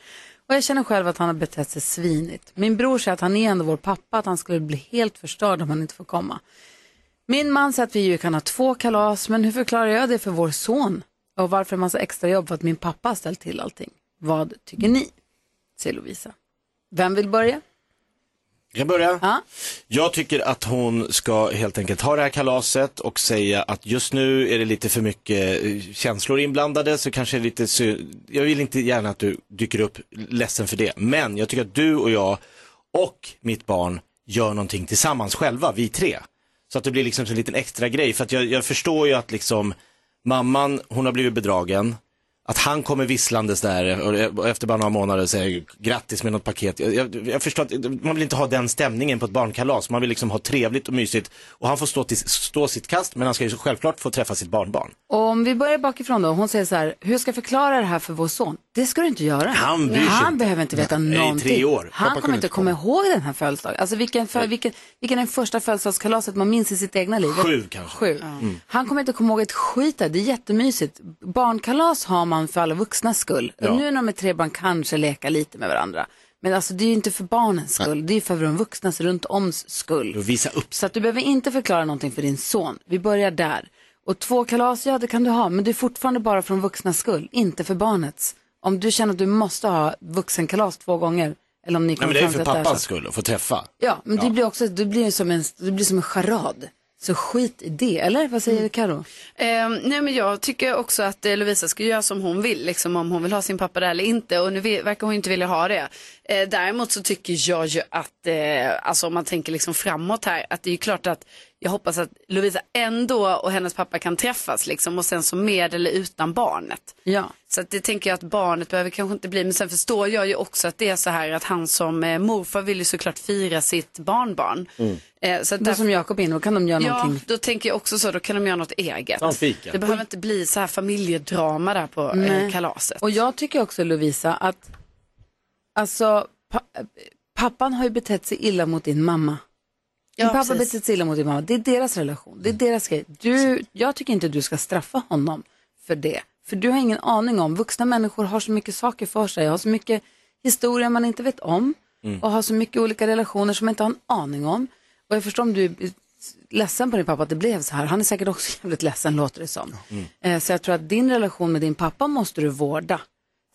Och jag känner själv att han har betett sig svinigt. Min bror säger att han är ändå vår pappa, att han skulle bli helt förstörd om han inte får komma. Min man säger att vi ju kan ha två kalas, men hur förklarar jag det för vår son? Och varför en massa extra jobb för att min pappa har ställt till allting? Vad tycker ni? Säger Lovisa. Vem vill börja?
Jag kan börja. Jag tycker att hon ska helt enkelt ha det här kalaset och säga att just nu är det lite för mycket eh, känslor inblandade så kanske det är lite sy- Jag vill inte gärna att du dyker upp ledsen för det. Men jag tycker att du och jag och mitt barn gör någonting tillsammans själva, vi tre. Så att det blir liksom en liten extra grej. För att jag, jag förstår ju att liksom mamman, hon har blivit bedragen. Att han kommer visslandes där och- och efter bara några månader säger grattis med något paket. Jag, jag, jag förstår att man vill inte ha den stämningen på ett barnkalas. Man vill liksom ha trevligt och mysigt. Och han får stå, till, stå sitt kast men han ska ju självklart få träffa sitt barnbarn.
Och om vi börjar bakifrån då. Hon säger så här, hur ska jag förklara det här för vår son? Det ska du inte göra.
Han bryr sig
Han
inte.
behöver inte veta
Nej, i tre
någonting.
år.
Han
Pappa
kommer
kunde
inte
inte
komma ihåg den här födelsedagen. Alltså vilken, för, vilken, vilken är den första födelsedagskalaset man minns i sitt egna liv?
Sju kanske.
Sju.
Mm.
Han kommer inte komma ihåg ett skit där. Det är jättemysigt. Barnkalas har man för alla vuxnas skull.
Ja.
Nu när de är tre barn kanske leka lite med varandra. Men alltså det är ju inte för barnens skull, det är ju för de vuxnas runt oms skull.
Visa upp.
Så att du behöver inte förklara någonting för din son. Vi börjar där. Och två kalas, ja det kan du ha, men det är fortfarande bara från vuxnas skull, inte för barnets. Om du känner att du måste ha vuxenkalas två gånger, eller om ni
Nej,
kommer
men det är ju
fram till
för
att det är så.
pappans skull att få träffa.
Ja, men det blir också, det blir ju som en, det blir som en charad. Så skit i det, eller vad
Mm.
säger Karo?
Eh, nej men jag tycker också att eh, Lovisa ska göra som hon vill, liksom, om hon vill ha sin pappa där eller inte. Och nu ve- verkar hon inte vilja ha det. Eh, däremot så tycker jag ju att, eh, alltså om man tänker liksom framåt här, att det är ju klart att jag hoppas att Lovisa ändå och hennes pappa kan träffas liksom och sen så med eller utan barnet.
Ja.
Så att det tänker jag att barnet behöver kanske inte bli, men sen förstår jag ju också att det är så här att han som eh, morfar vill ju såklart fira sitt barnbarn.
Mm.
Eh, så att
Då som Jakob är inne, då kan de göra
ja,
någonting.
då tänker jag också så. Då kan de göra något eget.
Som fika.
Det behöver inte bli så här familjedrama där på eh,
Nej.
kalaset.
Och jag tycker också Lovisa att, alltså, pa- pappan har ju betett sig illa mot din mamma. Din
Ja,
pappa har
precis.
betett sig illa mot din mamma. Det är deras relation, det är deras grej. Du, jag tycker inte du ska straffa honom för det. För du har ingen aning om, vuxna människor har så mycket saker för sig, har så mycket historia man inte vet om
Mm.
och har så mycket olika relationer som man inte har en aning om. Och jag förstår om du är ledsen på din pappa att det blev så här. Han är säkert också [LAUGHS] jävligt ledsen låter det som. Eh, Så jag tror att din relation med din pappa måste du vårda.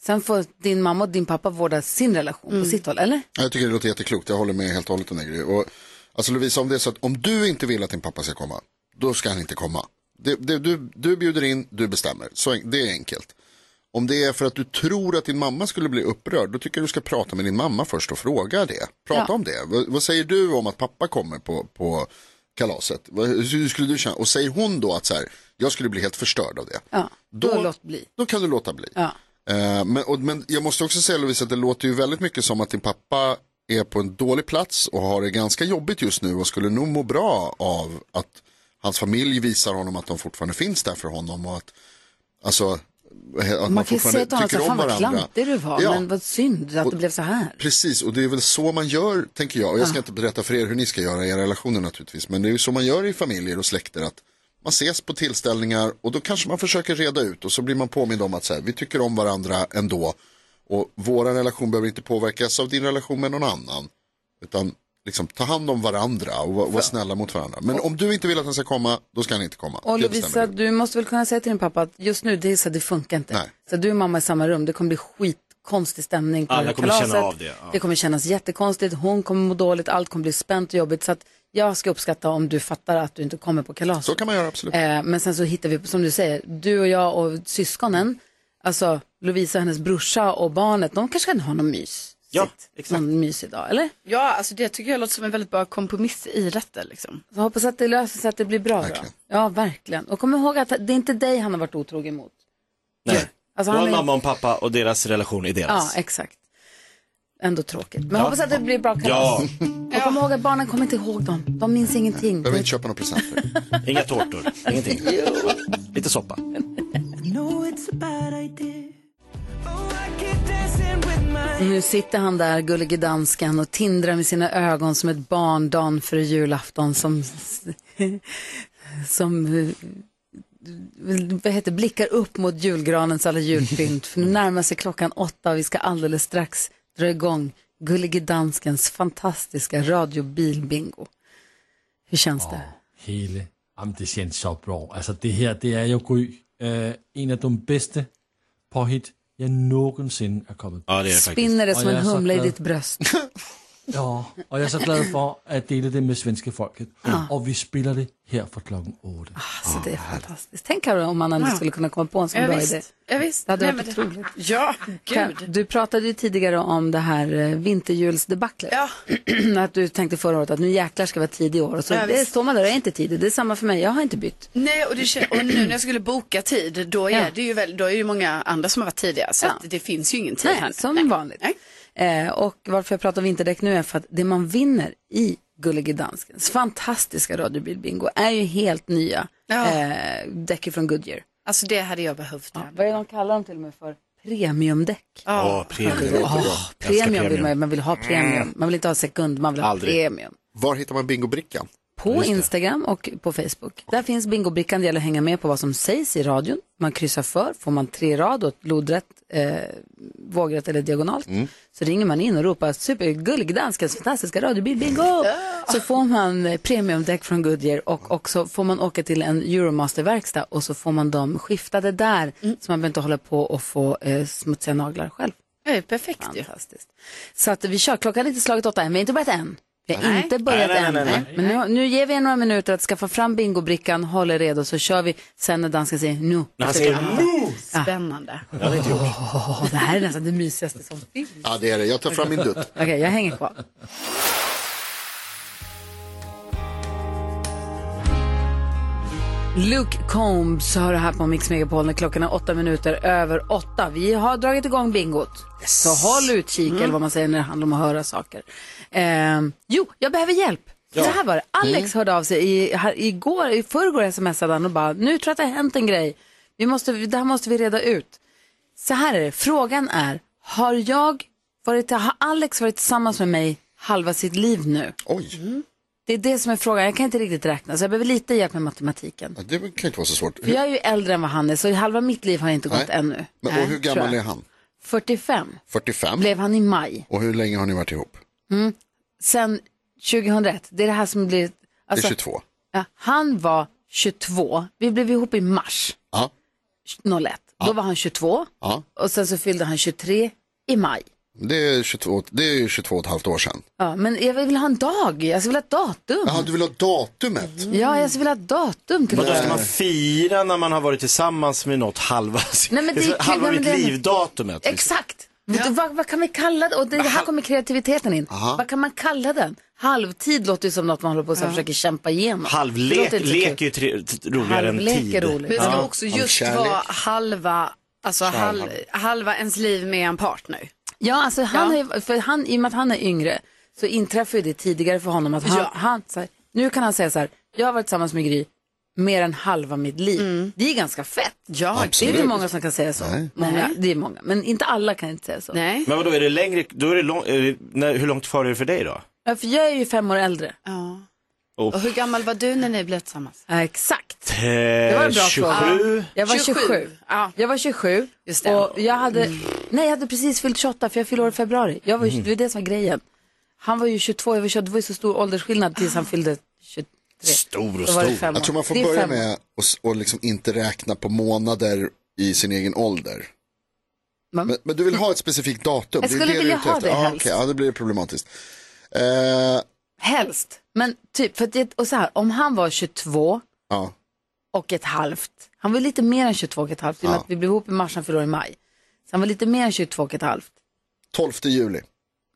Sen får din mamma och din pappa vårda sin relation på sitt håll, eller?
Ja, Jag tycker det låter jätteklokt, jag håller med helt och hållet om det. Gry. Och, alltså Lovisa, om det är så att om du inte vill att din pappa ska komma, då ska han inte komma. Det, det, du, du bjuder in, du bestämmer. Så, en- det är enkelt. Om det är för att du tror att din mamma skulle bli upprörd, då tycker jag du ska prata med din mamma först och fråga det. Prata
Ja.
om det. Vad- vad säger du om att pappa kommer på, på kalaset? Vad, hur skulle du känna? Och säger hon då att så här, jag skulle bli helt förstörd av det.
Ja,
då,
då låt bli.
Då kan du låta bli.
Ja.
Eh, men, och, men jag måste också säga Lovisa att det låter ju väldigt mycket som att din pappa är på en dålig plats och har det ganska jobbigt just nu och skulle nog må bra av att hans familj visar honom att de fortfarande finns där för honom och att, alltså, att man,
Man kan ju säga
fortfarande
till honom så
tycker
här,
om
fan vad
varandra.
klantig du var,
Ja.
men vad synd att det blev så här.
Precis, och det är väl så man gör, tänker jag. Och jag ska inte berätta för er hur ni ska göra i era relationer naturligtvis. Men det är ju så man gör i familjer och släkter. att Man ses på tillställningar och då kanske man försöker reda ut. Och så blir man påmind om att så här, vi tycker om varandra ändå. Och vår relation behöver inte påverkas av din relation med någon annan. Utan liksom, ta hand om varandra och vara vara snälla mot varandra. Men om du inte vill att han ska komma, då ska han inte komma.
Och
Det bestämmer
Lovisa, du måste väl kunna säga till din pappa att just nu, det, är så, här, det funkar inte. Så du och mamma i samma rum, det kommer bli skitkonstig stämning på
Alla
det här
kommer känna
kalaset.
av det, ja.
Det kommer kännas jättekonstigt, hon kommer må dåligt, allt kommer bli spänt och jobbigt. Så att jag ska uppskatta om du fattar att du inte kommer på kalaset. Så
kan man göra, absolut.
Eh, men sen så hittar vi, som du säger, du och jag och syskonen, alltså Lovisa, hennes brorsa och barnet, de kanske kan ha någon mys. Ja, exakt. Någon mys idag, eller?
Ja, alltså det tycker jag låter som en väldigt bra kompromiss i detta liksom.
Så hoppas att det löser sig, att det blir bra då. Ja, verkligen. Och kom ihåg att det är inte dig han har varit otrogen mot.
Nej.
Alltså,
det
han
var
är-
mamma och pappa och deras relation är deras.
Ja, exakt. Ändå tråkigt. Men
Ja.
hoppas att det blir bra kalas.
Ja.
Och kom ihåg att barnen kommer inte ihåg dem. De minns ingenting.
[LAUGHS] behöver inte köpa några presenter.
Inga tårtor, ingenting. Lite soppa.
Nu sitter han där, gullige dansken, och tindrar med sina ögon som ett barn dagen före julafton som, som eh, vad heter, blickar upp mot julgranens alla julpynt. För nu närmar sig klockan åtta och vi ska alldeles strax dra igång gullige danskens fantastiska radiobilbingo. Hur känns det?
Hele. Jamen, det känns så bra. Altså, det her, det er jo Gry. øh, en af de bedste påhit, jeg nogensinde er kommet på.
Ja, det er det faktisk.
Spinner det
Og
som
jeg er
en
så
humla i
glad-
ditt bröst.
Ja, og jeg er så glad for at dele det med svenske folket. Og vi spiller det her fra klokken 8.
Ah, Så det är fantastiskt. Tänk Karo, om man aldrig
Ja.
skulle kunna komma på en sån
Ja,
bra
visst.
idé.
Ja, visst.
Det hade
Nej,
varit
men
otroligt.
Ja,
Kan-
gud.
Du pratade ju tidigare om det här eh, vinterjulsdebaclet. [CLEARS THROAT] att du tänkte förra året att nu jäklar ska jag vara tidig i år. Och så
Ja,
det
visst.
står man där och är inte tidig. Det är samma för mig, jag har inte bytt.
Nej, och, det, kän- och nu när jag skulle boka tid, då är,
Ja.
det ju väl, då är det ju många andra som har varit tidiga. Så att det finns ju ingen tid här
Nej,
nu.
som vanligt. Eh, och varför jag pratar om vinterdäck nu är för att det man vinner i Gullige Danskens fantastiska radiobilbingo är ju helt nya
Ja.
eh, däck från Goodyear.
Alltså det hade jag behövt. Ja,
vad är de kallar dem till och med för? Premiumdäck.
Ja,
premium. premium vill man, man vill ha premium. Man vill inte ha sekund, man vill ha
Aldrig.
premium.
Var hittar man bingobrickan?
På
Just det.
Instagram och på Facebook. Där finns bingobrickan, det gäller att hänga med på vad som sägs i radion. Man kryssar för, får man tre rad åt lodrätt, eh, vågrätt eller diagonalt.
Mm.
Så ringer man in och ropar supergullig danskens fantastiska radiobil, bingo! Så får man eh, premiumdäck från Goodyear och också får man åka till en Euromaster-verkstad och så får man dem skiftade där.
Mm.
Så man behöver inte hålla på och få eh, smutsiga naglar själv.
Det är ju perfekt ju.
Så att vi kör, klockan är inte slaget åtta än, vi har inte börjat än. Vi har
Nej.
inte börjat
Nej, nej,
än.
nej, nej,
Men nu, nu ger vi er några minuter att skaffa fram bingobrickan, håll er redo så kör vi sen när dansken säger nu.
När han säger
nu.
Spännande.
Jag hade inte gjort.
Åh, det här är nästan [LAUGHS] det mysigaste som finns.
Ja, det är det. Jag tar fram min dutt.
Okej, jag hänger kvar. Luke Combs hör här på Mix Megapol när klockan är åtta minuter över åtta. Vi har dragit igång bingot. Så håll utkik eller vad man säger när det handlar om att höra saker. Ehm, jo, jag behöver hjälp.
Ja.
Så här var det. Alex
Mm.
hörde av sig i, här, igår, i förrgår smsade han och bara, nu tror jag att det har hänt en grej. Vi måste, det här måste vi reda ut. Så här är det, frågan är, har jag varit, har Alex varit tillsammans med mig halva sitt liv nu? Mm.
Oj.
Det är det som är frågan, jag kan inte riktigt räkna så jag behöver lite hjälp med matematiken.
Ja, det kan ju inte vara så svårt.
För jag är ju äldre än vad han är så halva mitt liv har jag inte gått ännu.
Men,
Nej,
och hur
tror
gammal
jag.
är han?
45
45.
blev han i maj.
Och hur länge har ni varit ihop?
Mm. Sen 2001, det är det här som blir... alltså-
det är 22.
Ja, han var 22, vi blev ihop i mars
Ja.
01. Då var han 22
ja.
och sen så fyllde han 23 i maj.
Det är 22, det är 22 och ett halvt år sedan.
Ja, men jag vill ha en dag, alltså jag vill ha ett datum.
Jaha, du vill ha datumet?
Ja, jag vill ha ett datum. till
Mm. Vadå,
det.
ska man fira när man har varit tillsammans med något halva, [LAUGHS] sin-
Nej, men det är kul,
halva
nej, men
mitt
det-
liv-datumet? liksom.
Exakt. Vet du, Vad, vad kan vi kalla det? Och det här kommer kreativiteten in.
Aha.
Vad kan man kalla den? Halvtid låter ju som något man håller på och sen försöker kämpa igenom. Det
Halvlek
låter inte så kul.
lek är ju tre, t- roligare än
Halvlek är
tid.
roligt.
Men det ska
Ja.
också just vara halva, alltså hal,
Kärlek.
halva ens liv med en partner.
Ja, alltså han har ju- för han, i och med att han är yngre så inträffar ju det tidigare för honom att han, han så här, nu kan han säga så här, jag har varit tillsammans med Gry mer än halva mitt liv. Det är ganska fett. Ja, det är
absolut.
inte många som kan säga så.
Nej.
Många, det är många, men inte alla kan inte säga så.
Nej.
Men vadå, är det längre, då är det lång, är det, när, hur långt kvar är det för dig då?
Ja, för jag är ju fem år äldre.
Ja.
Oh.
Och hur gammal var du när ni blev tillsammans?
Exakt.
Det
Det var en bra
27.
fråga. Jag var 27.
27.
Jag var 27 och jag hade, nej jag hade precis fyllt 28 för jag fyllde år i februari. Jag var, ju-
Mm.
Det var det som var grejen. Han var ju 22, jag var 21, det var ju så stor åldersskillnad tills han fyllde 23.
Stor
Då var det fem år.
Jag tror man får
Det är
börja
fem år.
med att och liksom inte räkna på månader i sin egen ålder. Men, men du vill ha ett specifikt datum?
Jag
är
skulle
du är
vilja
ute
ha
efter.
det
ah,
helst.
okej. Ja, det blir problematiskt. Eh,
Helst. Men typ, för att, det- och så här, om han var 22
ja.
och ett halvt. Han var lite mer än 22 och ett halvt i och med
Ja.
att vi blev ihop i mars, han fyllde år i maj. Så han var lite mer än 22 och ett halvt.
12 juli.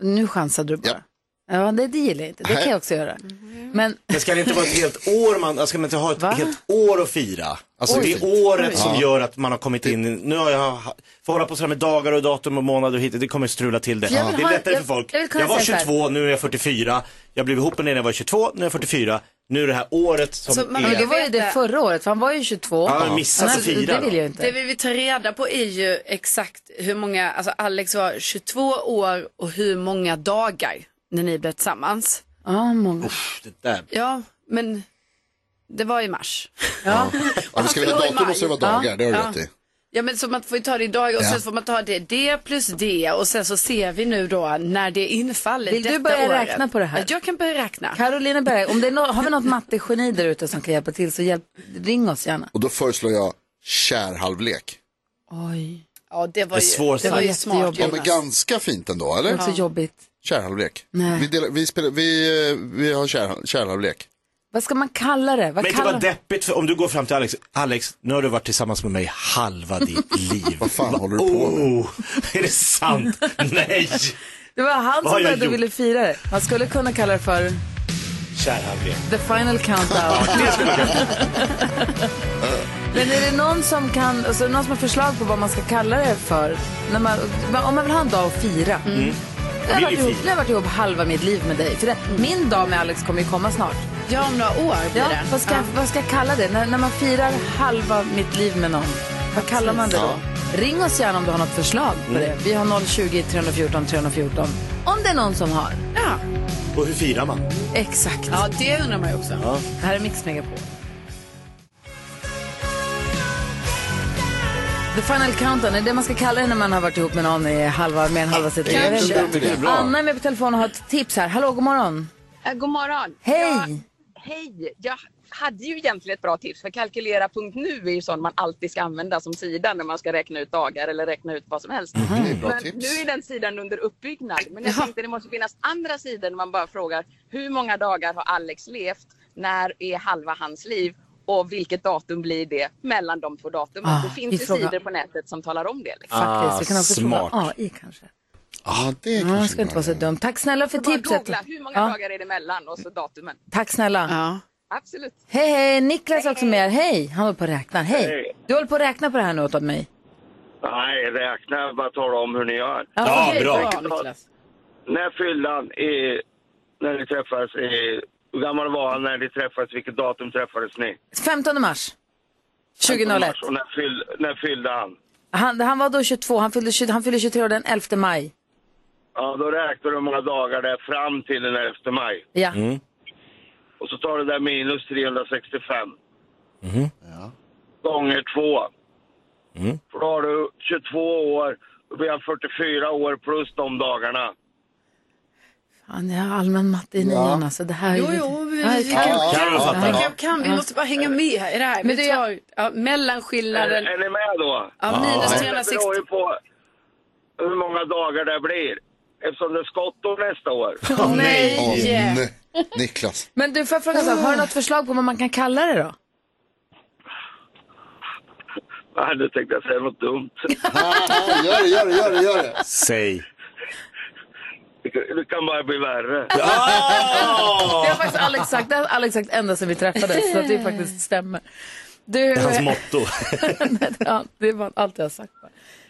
Nu chansade du bara. Ja, det, det gillar jag inte. Det kan jag också göra.
Mhm.
Men
Men ska det inte vara [LAUGHS] ett helt år man, alltså, ska man inte ha ett helt år att fira? Alltså
Oj.
det är året
Oj.
som
Ja.
gör [LAUGHS] att man har kommit in, i- nu har jag, får hålla på sådär med dagar och datum och månader och hit, det kommer strula till det.
Jag vill
Det
ha-
är lättare
jag-
för folk.
jag vill
Jag,
kunna
var
säga så här.
22, nu är jag 44, jag blev ihop med när jag var 22, nu är jag 44, nu är det här året som
Så man-
är.
Men det var ju det förra året, för han var ju 22.
Ja, men missa
Nej,
så fira
Det
då.
vill jag inte.
Det vi vill ta reda på är ju exakt hur många, alltså Alex var 22 år och hur många dagar när ni blev tillsammans.
Ja, många.
Det där.
Ja, men det var i mars.
Ja. Om du ska vilja
Och i
datum
maj.
måste det vara dagar, det har du
Ja.
rätt i.
Ja men så man får ju ta det i dagar och
Ja.
sen får man ta det, det plus det och sen så ser vi nu då när det infaller
Vill du
detta
börja
året.
räkna på det här?
Ja, Jag kan börja räkna.
Carolina Berg, om det är nå- har vi något mattegeni där ute som kan hjälpa till så hjälp, ring oss gärna.
Och då föreslår jag kärhalvlek.
Oj.
Ja det var
En
ju,
svår
det var ju
sak.
smart
Ja, men
Jonas.
ganska fint ändå, eller?
Det är så jobbigt.
Kärhalvlek.
Nej.
Vi, delar, vi, spelar, vi, eh, vi har kär, kärhalvlek.
Vad ska man kalla det? Vad
Men inte
kallar...
vara deppigt, för om du går fram till Alex, Alex, nu har du varit tillsammans med mig halva [LAUGHS] ditt liv. Vad fan håller du på med? Oh, är det sant? Nej!
Det var han
Vad
som
har jag
började
gjort?
och ville fira det. Man skulle kunna kalla det för
Kärhalvlek.
the final countdown. Men är det någon som kan, alltså är det någon som har förslag på vad man ska kalla det för? När man, om man vill ha en dag att fira.
Mm.
Jag har,
Vill ju
varit ihop,
fira.
jag har varit ihop halva mitt liv med dig. För det, Min dag med Alex kommer ju komma snart.
Ja, om några år blir
Ja,
det.
vad, ska,
Ja.
vad ska jag kalla det? När, när man firar halva mitt liv med någon, vad kallar man det då? Ring oss gärna om du har något förslag på
Mm.
det. Vi har 020 314 314. Om det är någon som har.
Ja.
Och hur firar man?
Exakt.
Ja, det undrar man ju också.
Ja.
Det här är Mix Megapol. The final countdown, är det man ska kalla det när man har varit ihop med någon i halva, mer än halva sitt liv?
Kanske.
Jag vet inte.
Jag tycker det är bra.
Anna är med på telefon och har ett tips här. Hallå, god morgon.
Eh, God morgon!
Hej!
Jag, hej! Jag hade ju egentligen ett bra tips för kalkylera.nu är ju sån man alltid ska använda som sida när man ska räkna ut dagar eller räkna ut vad som helst.
Mhm.
Det är bra
men
tips.
nu är den sidan under uppbyggnad. Men jag tänkte det måste finnas andra sidor när man bara frågar hur många dagar har Alex levt? När är halva hans liv? Och vilket datum blir det mellan de två datumen?
Ah,
det finns
vi
ju
frågar-
sidor på nätet som talar om det. Liksom.
Faktiskt, vi kan också
smart.
fråga AI kanske.
Ja, det
Ja, det ska inte vara så dumt. Tack snälla för
Så bara
tipset.
googla, hur många
Ja.
dagar är det mellan? Och så datumen.
Tack snälla.
Absolut.
Hej, hej. Niklas är också med. Hej. Han håller på och räknar. Hej.
Hej.
Du håller på och räknar på det här nu åt mig.
Nej, räkna. Bara tala om hur ni gör.
Ja, Ja, okej, bra. bra,
När fyllan, i, när ni träffades, i, hur gammal var han när ni träffades? Vilket datum träffades ni?
15 mars 2001.
Och när, fyll, när fyllde han?
Han, han var då 22. Han fyllde, 20 han fyllde 23 år den 11 maj.
Ja, då räknar du hur många dagar det är fram till den 11 maj.
Ja.
Mm.
Och så tar du där minus 365.
Mm-hmm.
Gånger två.
Mm.
För då har du 22 år, då blir han 44 år plus de dagarna.
Fan, jag har allmän matte i nian alltså. Det här är
Jo,
lite-
jo, vi, vi
Ja,
kan,
jag kan-
vi
Ja.
kan, vi kan, vi
Ja.
måste bara hänga med här i det här.
Men
Men
du,
vi tar ja, mellanskillnaden.
Är, är ni med då?
Ja, minus
Men
360.
Det beror ju på hur många dagar det blir. Eftersom det är skottår nästa år.
[LAUGHS] Åh, nej.
Åh,
Yeah.
nej. Niklas.
Men du, får jag fråga så här, har du något förslag på vad man kan kalla det då?
Nej, nu tänkte jag säga något dumt.
[LAUGHS] gör det, gör det, gör det, gör det.
Säg.
Det kan bara bli värre.
Det har faktiskt Alex sagt, det har Alex sagt ända sedan vi träffades, så att det faktiskt stämmer. Du,
Det är
[LAUGHS]
hans motto.
ja, det var allt jag har sagt.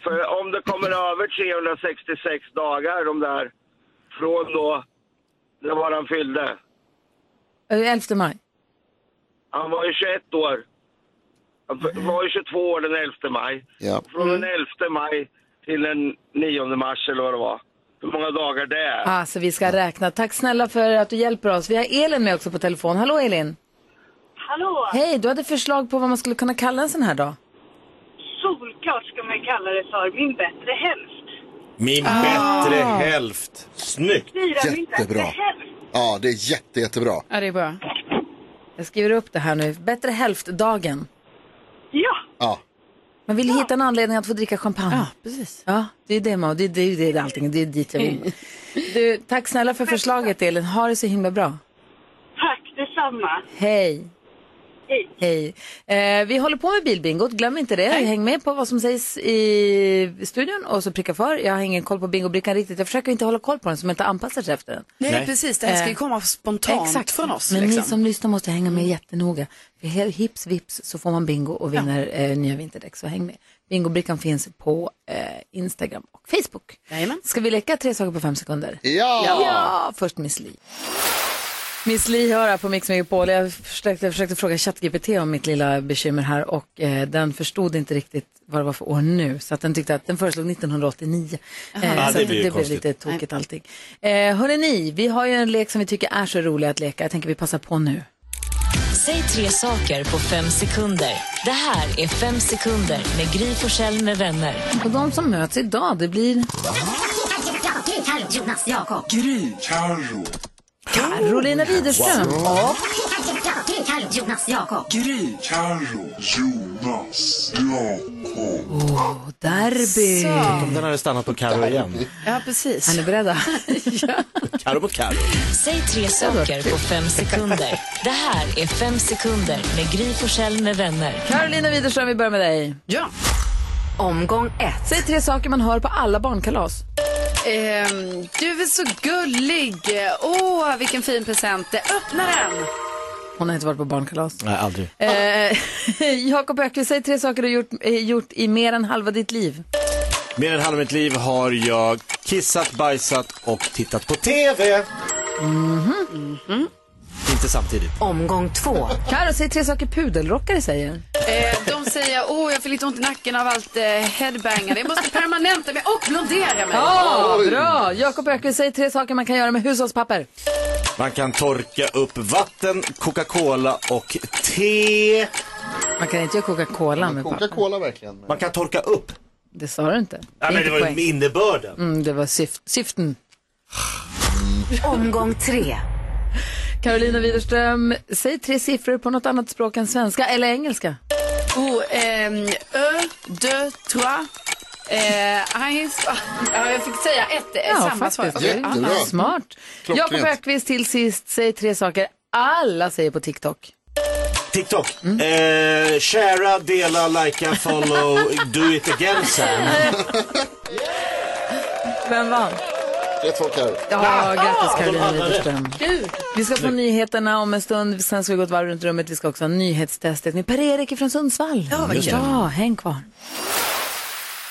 För om det kommer över 366 dagar, de där, från då, det var han fyllde.
Eh, 11 maj.
Han var ju 21 år. Han f- var ju 22 år den 11 maj.
Ja.
Från den 11 maj till den 9 mars eller vad det var. Hur många dagar det är.
Alltså vi ska räkna. Tack snälla för att du hjälper oss. Vi har Elin med också på telefon. Hallå Elin!
Hallå!
Hej, du hade förslag på vad man skulle kunna kalla en sån här dag.
Solklart ska man kalla det för min bättre hälft.
Min
Ah.
bättre hälft. Snyggt!
Jättebra. Ja, det är jätte, jättebra.
Ja, det är bra.
Jag skriver upp det här nu. Bättre hälft-dagen.
Ja.
Man vill hitta en anledning att få dricka champagne. Ja,
precis.
Ja, det är det man, det är det, det är allting, det är dit jag vill. Du, tack snälla för förslaget Elin, ha det så himla bra.
Tack detsamma.
Hej.
Hej.
Hej. Eh, vi håller på med bilbingot, glöm inte det. Häng med på vad som sägs i studion och så pricka för. Jag har ingen koll på bingobrickan riktigt, jag försöker inte hålla koll på den så man inte anpassar sig efter den.
Nej, precis. Det här ska ju
Eh,
komma spontant
Exakt.
från oss.
Men
liksom.
ni som lyssnar måste hänga med jättenoga. För he- hips vips så får man bingo och vinner eh, nya vinterdäck. Så häng med. Bingobrickan finns på eh, Instagram och Facebook. Jajamän. Ska vi leka tre saker på fem sekunder?
Ja!
ja först Miss Li. Miss Li hör här på Mix Megapol. Jag försökte, jag försökte fråga ChatGPT om mitt lilla bekymmer här och eh, den förstod inte riktigt vad det var för år nu. Så att den tyckte att den föreslog 1989. Eh,
Jaha. Ja,
så
det blir
att
ju
det blev
konstigt.
lite tokigt allting. Eh, hörrni, ni, vi har ju en lek som vi tycker är så rolig att leka. Jag tänker vi passar på nu.
Säg tre saker på fem sekunder. Det här är Fem sekunder med Gry Forssell med vänner.
Och de som möts idag, det blir...
Alltså, Gry, Carro, Jonas, Jakob.
Gry, Carro. Carolina
Oh,
Widerström.
Wow.
Och...
Gry, Carro, Jonas, Jakob.
Gry, Carro, Jonas, Jakob. Oh, derby.
Alltså.
Mm. Om den hade stannat på Karo igen.
Ja, precis. Är ni beredda?
Karo mot Karo.
[LAUGHS] Säg tre saker på fem sekunder. Det här är Fem sekunder med Gry Forssell med vänner.
Carolina Widerström, vi börjar med dig.
Ja.
Omgång ett. Säg tre saker man hör på alla barnkalas.
Ehm, du är så gullig. Åh, vilken fin present. Öppna den!
Hon har inte varit på barnkalas.
Nej, aldrig.
Eh, Jakob Ökvist, säg tre saker du gjort, eh, gjort i mer än halva ditt liv.
Mer än halva mitt liv har jag kissat, bajsat och tittat på TV. Inte samtidigt.
Omgång två. Karo, säg tre saker pudelrockare säger.
Eh, de säger, åh, jag får lite ont i nacken av allt eh, headbangande. Jag måste permanenta mig och blondera mig.
Ja, bra! Jakob Ökvist, säg tre saker man kan göra med hushållspapper.
Man kan torka upp vatten, Coca-Cola och te.
Man kan inte göra Coca-Cola med papper.
Coca-Cola verkligen.
Man kan torka upp.
Det sa du inte.
Ja, men
inte
det var
poäng.
ju innebörden.
Mm, det var syf- syften.
Omgång tre.
Carolina Widerström, säg tre siffror på något annat språk än svenska eller engelska.
Oh, ehm, ö, dö, trois. Eh, eins. Ah, ja, jag fick säga ett, eh, samma svar. Okej.
Jättebra.
Ah, ah.
Smart.
Klockrent.
Jakob Ökvist till sist, säg tre saker alla säger på TikTok.
TikTok. Eh, sharea, dela, likea, follow, do it again [LAUGHS] Sam.
Vem vann?
Rätt folk här.
Ja, grattis Carolina
de hade
Widerström. Vi ska få nyheterna om en stund, sen ska vi gå ett varv runt rummet. Vi ska också ha nyhetstestet med Per-Erik från Sundsvall.
Ja, vad kul.
ja häng kvar.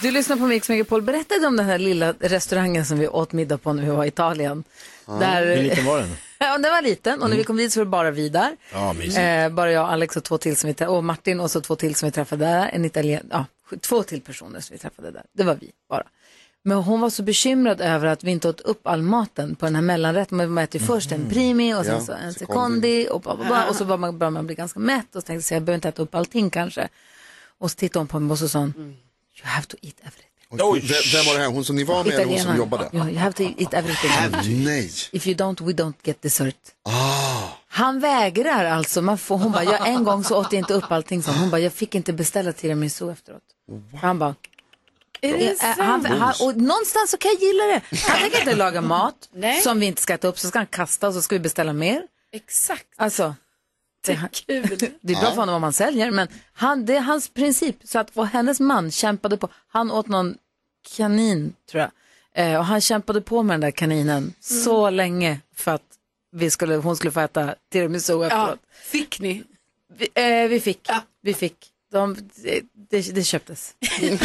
Du lyssnar på Mix Megapol. Berättade om den här lilla restaurangen som vi åt middag på när vi var i Italien.
Hur liten
eh,
var den?
[LAUGHS]
Mm.
Ja, den var liten och när vi kom dit så var det bara vi där.
Ja, mysigt.
Eh, bara jag, Alex och två till som vi trä- och Martin och så två till som vi träffade där. En italien, ja, sj- två till personer som vi träffade där. Det var vi bara. Men hon var så bekymrad över att vi inte åt upp all maten på den här mellanrätten. Man äter ju
Mm.
först en primi och sen
Ja,
så
secondi.
en secondi och, bla, bla,
[LAUGHS]
bla. och så var man, började man bli ganska mätt och så tänkte jag, så jag behöver inte äta upp allting kanske. Och så tittade hon på mig och så sa hon, you have to eat everything.
Oj, vem, vem var Mm. det här? Hon som ni var med eller hon som
Italienaren.
jobbade?
Ja, You have to eat everything.
Nej.
If you don't, we don't get dessert.
Ah.
Han vägrar alltså. Man får, hon bara, jag en gång så åt jag inte upp allting. Så hon bara, jag fick inte beställa tiramisu efterat. Han bara,
Är
eh,
det sant?
han, han, och någonstans så kan jag gilla det. Han
[LAUGHS]
tänker inte laga mat
Nej.
som vi inte ska äta upp, så ska han kasta och så ska vi beställa mer.
Exakt.
Alltså, det, är
kul.
[LAUGHS] det är bra
Ja.
för honom om han säljer, men han, det är hans princip. Så att och hennes man kämpade på, han åt någon kanin tror jag, eh, och han kämpade på med den där kaninen
Mm.
så länge för att vi skulle, hon skulle få äta tiramisu
Ja,
efteråt.
fick ni?
Vi, eh, vi fick, vi fick. De, det, det, det köptes.
[LAUGHS]
[LAUGHS]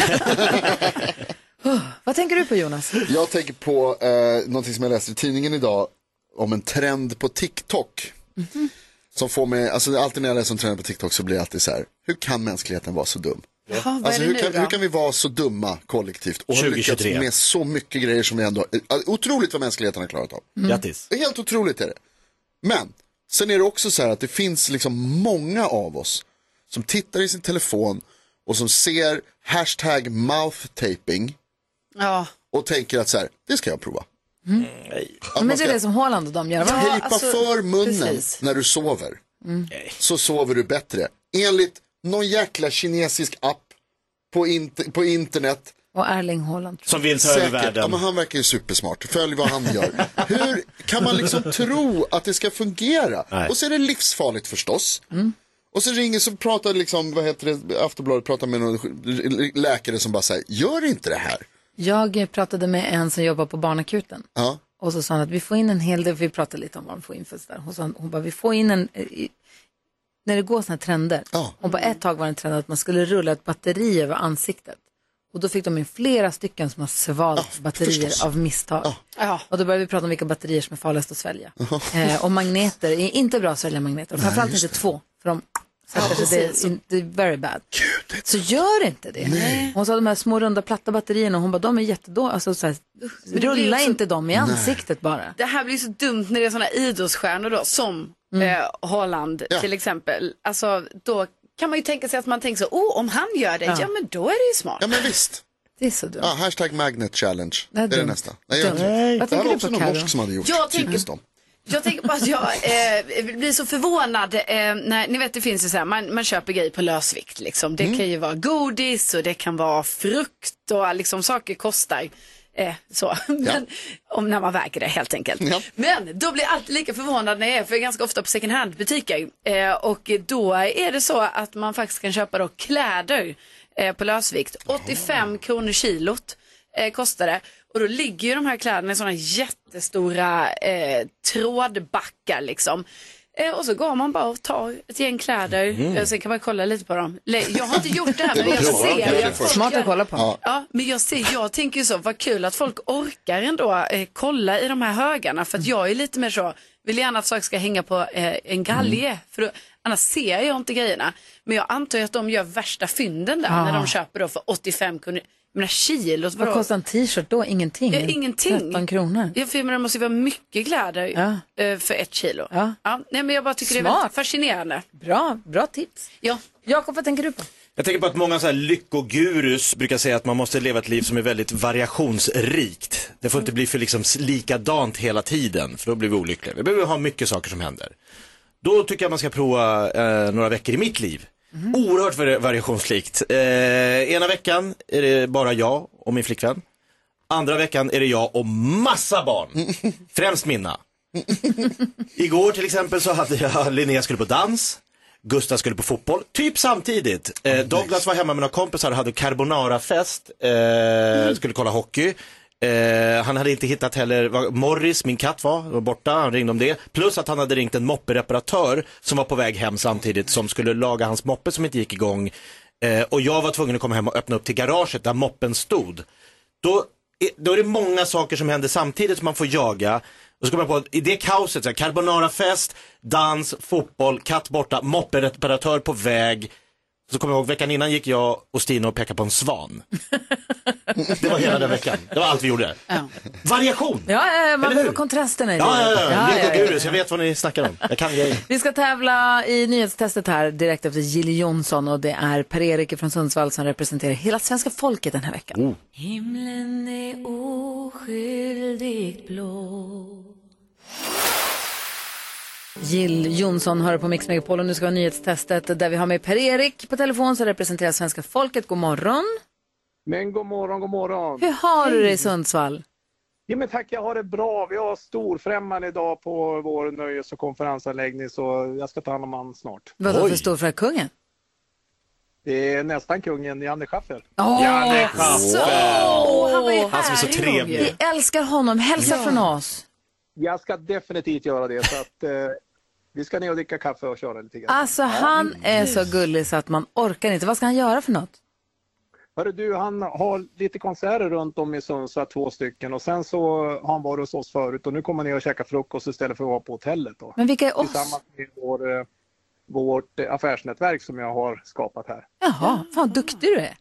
Oh, Vad tänker du på Jonas?
Jag tänker på eh, någonting som jag läste i tidningen idag om en trend på TikTok.
Mhm.
Som får mig, alltså alltid när jag läser om trender på TikTok så blir jag alltid så här, hur kan mänskligheten vara så dum?
Jaha, vad är
alltså,
det
hur,
nu
kan,
då?
hur kan vi vara så dumma kollektivt och har lyckats
2023?
med så mycket grejer som vi ändå, eh, otroligt vad mänskligheten har klarat av.
Mm. Grattis.
Det är Helt otroligt är det. Men, sen är det också så här att det finns liksom många av oss som tittar i sin telefon och som ser hashtag mouth taping
Ja.
och tänker att så här, det ska jag prova.
Mm.
Nej.
Men det är det som Holland och de gör. va?
Tejpa för munnen
precis.
när du sover.
Mm.
Så sover du bättre. Enligt någon jäkla kinesisk app på, int- på internet.
Och Erling Holland. tror jag.
Säkert. Ja, men han verkar ju supersmart. Följ vad han gör. Hur kan man liksom tro att det ska fungera?
Nej.
Och så är det livsfarligt förstås.
Mm.
Och så ringer så pratar liksom, vad heter det, Aftonbladet pratar med någon sj- läkare som bara säger, gör inte det här.
Jag pratade med en som jobbar på barnakuten.
Ja.
Och så sa han att vi får in en hel del, vi pratade lite om vad de får in för sådär. Hon, sa, hon bara, vi får in en, eh, i- när det går sådana här trender. Hon bara, ett tag var det en trend att man skulle rulla ett batteri över ansiktet. Och då fick de in flera stycken som har svalt batterier
förstås.
av misstag. Och då började vi prata om vilka batterier som är farligast att svälja. Eh, och magneter är inte bra att svälja magneter.
Nej,
Framförallt
just
inte två, för de sätter
Ja,
sig. Det är
precis.
in- det är very bad. Så gör inte det. Hon sa de här små runda platta batterierna, hon bara, de är jättedåliga. Alltså, så här,
det blir
rulla
också-
inte dem i
Nej.
ansiktet bara.
Det här blir ju så dumt när det är sådana idrottsstjärnor då, som
Mm.
eh, Holland till exempel. Alltså, då kan man ju tänka sig att man tänker så, oh, om han gör det, ja,
Ja.
men då är det ju smart.
Ja men visst.
Det är så dumt.
Ja, Ah, hashtag magnet challenge.
Det är
Det är det
dumt.
nästa. Nej, jag
Dumt.
tror inte
Vad
det. det här
tänker
var
du
också
på,
någon
Karo?
norsk som hade gjort.
Jag tänker-
Typiskt dem.
Jag tänker bara att jag eh, blir så förvånad. Eh, när, ni vet det finns ju så här, man, man köper grejer på lösvikt liksom. Det kan ju vara godis och det kan vara frukt och liksom saker kostar. Eh, så, [LAUGHS] men, om när man väger det helt enkelt. Men då blir jag alltid lika förvånad när jag är, för jag är ganska ofta på second hand butiker. Eh, och då är det så att man faktiskt kan köpa då kläder eh, på lösvikt. 85 kronor kilot eh, kostar det. Och då ligger ju de här kläderna i sådana jättestora eh, trådbackar liksom. Eh, och så går man bara och tar ett gäng kläder.
Mm.
Eh, sen kan man kolla lite på dem. Le- Jag har inte gjort [LAUGHS] det här
Det
men
var
jag
bra. Det var
ser. att folk
smart att
gör-
kolla på.
Ja. men jag ser, jag tänker ju så, vad kul att folk orkar ändå eh, kolla i de här högarna. För att jag är lite mer så, vill gärna att saker ska hänga på eh, en galge.
Mm.
För då, annars ser jag inte grejerna. Men jag antar ju att de gör värsta fynden där
Ja.
när de köper då för 85 kronor. Jag menar kilot,
Ah. Vad
vadå?
kostar en t-shirt då? Ingenting?
Ja, ingenting.
13 kronor.
Ja, för det måste ju vara mycket kläder eh, för ett kilo. Ja. nej, men jag bara tycker det är
Smart.
väldigt fascinerande.
Bra, bra tips.
Ja.
Jakob, vad tänker du på?
Jag tänker på att många så här lyckogurus brukar säga att man måste leva ett liv som är väldigt variationsrikt. Det får inte bli för liksom likadant hela tiden, för då blir vi olyckliga. Vi behöver ha mycket saker som händer. Då tycker jag man ska prova eh, några veckor i mitt liv. Oerhört vari- variationslikt. Eh, ena veckan är det bara jag och min flickvän. Andra veckan är det jag och massa barn. Främst mina. Igår till exempel så hade jag, [LAUGHS] Linnea skulle på dans, Gustav skulle på fotboll, typ samtidigt. Eh, Douglas var hemma med några kompisar och hade carbonara-fest, eh, skulle kolla hockey. Eh, han hade inte hittat heller vad Morris, min katt var, var borta, han ringde om det. Plus att han hade ringt en moppereparatör som var på väg hem samtidigt som skulle laga hans moppe som inte gick igång. Eh, och jag var tvungen att komma hem och öppna upp till garaget där moppen stod då är, då är det många saker som händer samtidigt som man får jaga. Och så kommer jag på att i det kaoset, så här, carbonarafest, dans, fotboll, katt borta, moppereparatör på väg. Så kommer jag ihåg, veckan innan gick jag och Stina och pekade på en [LAUGHS] svan. Det var hela den veckan. Det var allt vi gjorde. Variation!
Ja, ja, ja,
Eller
man behöver
hur?
kontrasterna i
Ja, ja,
livet.
ja. ja, Legogurus, jag vet vad ni snackar om. Jag kan grejer.
Vi ska tävla i nyhetstestet här direkt efter Jill Johnson och det är Per-Erik från Sundsvall som representerar hela svenska folket den här veckan.
Oh.
Himlen är oskyldigt blå
Jill Johnson hör på Mix Megapol och nu ska vi ha nyhetstestet där vi har med Per-Erik på telefon som representerar svenska folket. God morgon!
Men god morgon, god morgon.
Hur har du det i Sundsvall?
Ja, men tack, jag har det bra. Vi har storfrämman idag på vår nöjes och konferensanläggning så jag ska ta hand om han snart.
Vadå för stor för kungen?
Det är nästan kungen, Janne Schaffer.
Åh,
Janne
så-
Schaffer!
han var ju
Han som är så
här i
trevlig.
Norge. Vi älskar honom. Hälsa
Ja.
från oss.
Jag ska definitivt göra det. Så att, eh, vi ska ner och dricka kaffe och köra lite grann.
Alltså han är så gullig så att man orkar inte. Vad ska han göra för något?
Hörru du, han har lite konserter runt om i Sundsvall, två stycken. Och sen så har han varit hos oss förut och nu kommer han ner och käkar frukost istället för att vara på hotellet. Då.
Men vilka är oss?
Tillsammans med vår, eh, vårt eh, affärsnätverk som jag har skapat här.
Jaha, fan vad duktig du är.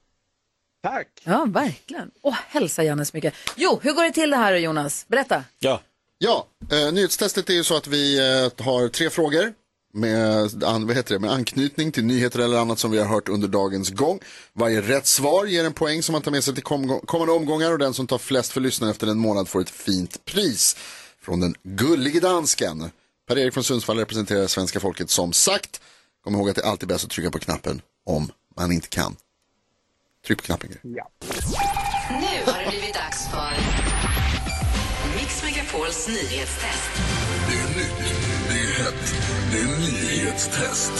Tack!
Ja, verkligen. Och hälsa Janne så mycket. Jo, hur går det till det här då, Jonas? Berätta.
Ja.
Ja, eh, nyhetstestet är ju så att vi eh, har tre frågor med, an, vad heter det, med anknytning till nyheter eller annat som vi har hört under dagens gång. Varje rätt svar ger en poäng som man tar med sig till kom, kommande omgångar och den som tar flest för lyssnaren efter en månad får ett fint pris från den gullige dansken. Per-Erik från Sundsvall representerar svenska folket som sagt. Kom ihåg att det är alltid bäst att trycka på knappen om man inte kan. Tryck på knappen. Gry.
Nu har det blivit dags för Mix Megapols nyhetstest.
Det är nytt, det är hett, det är nyhetstest.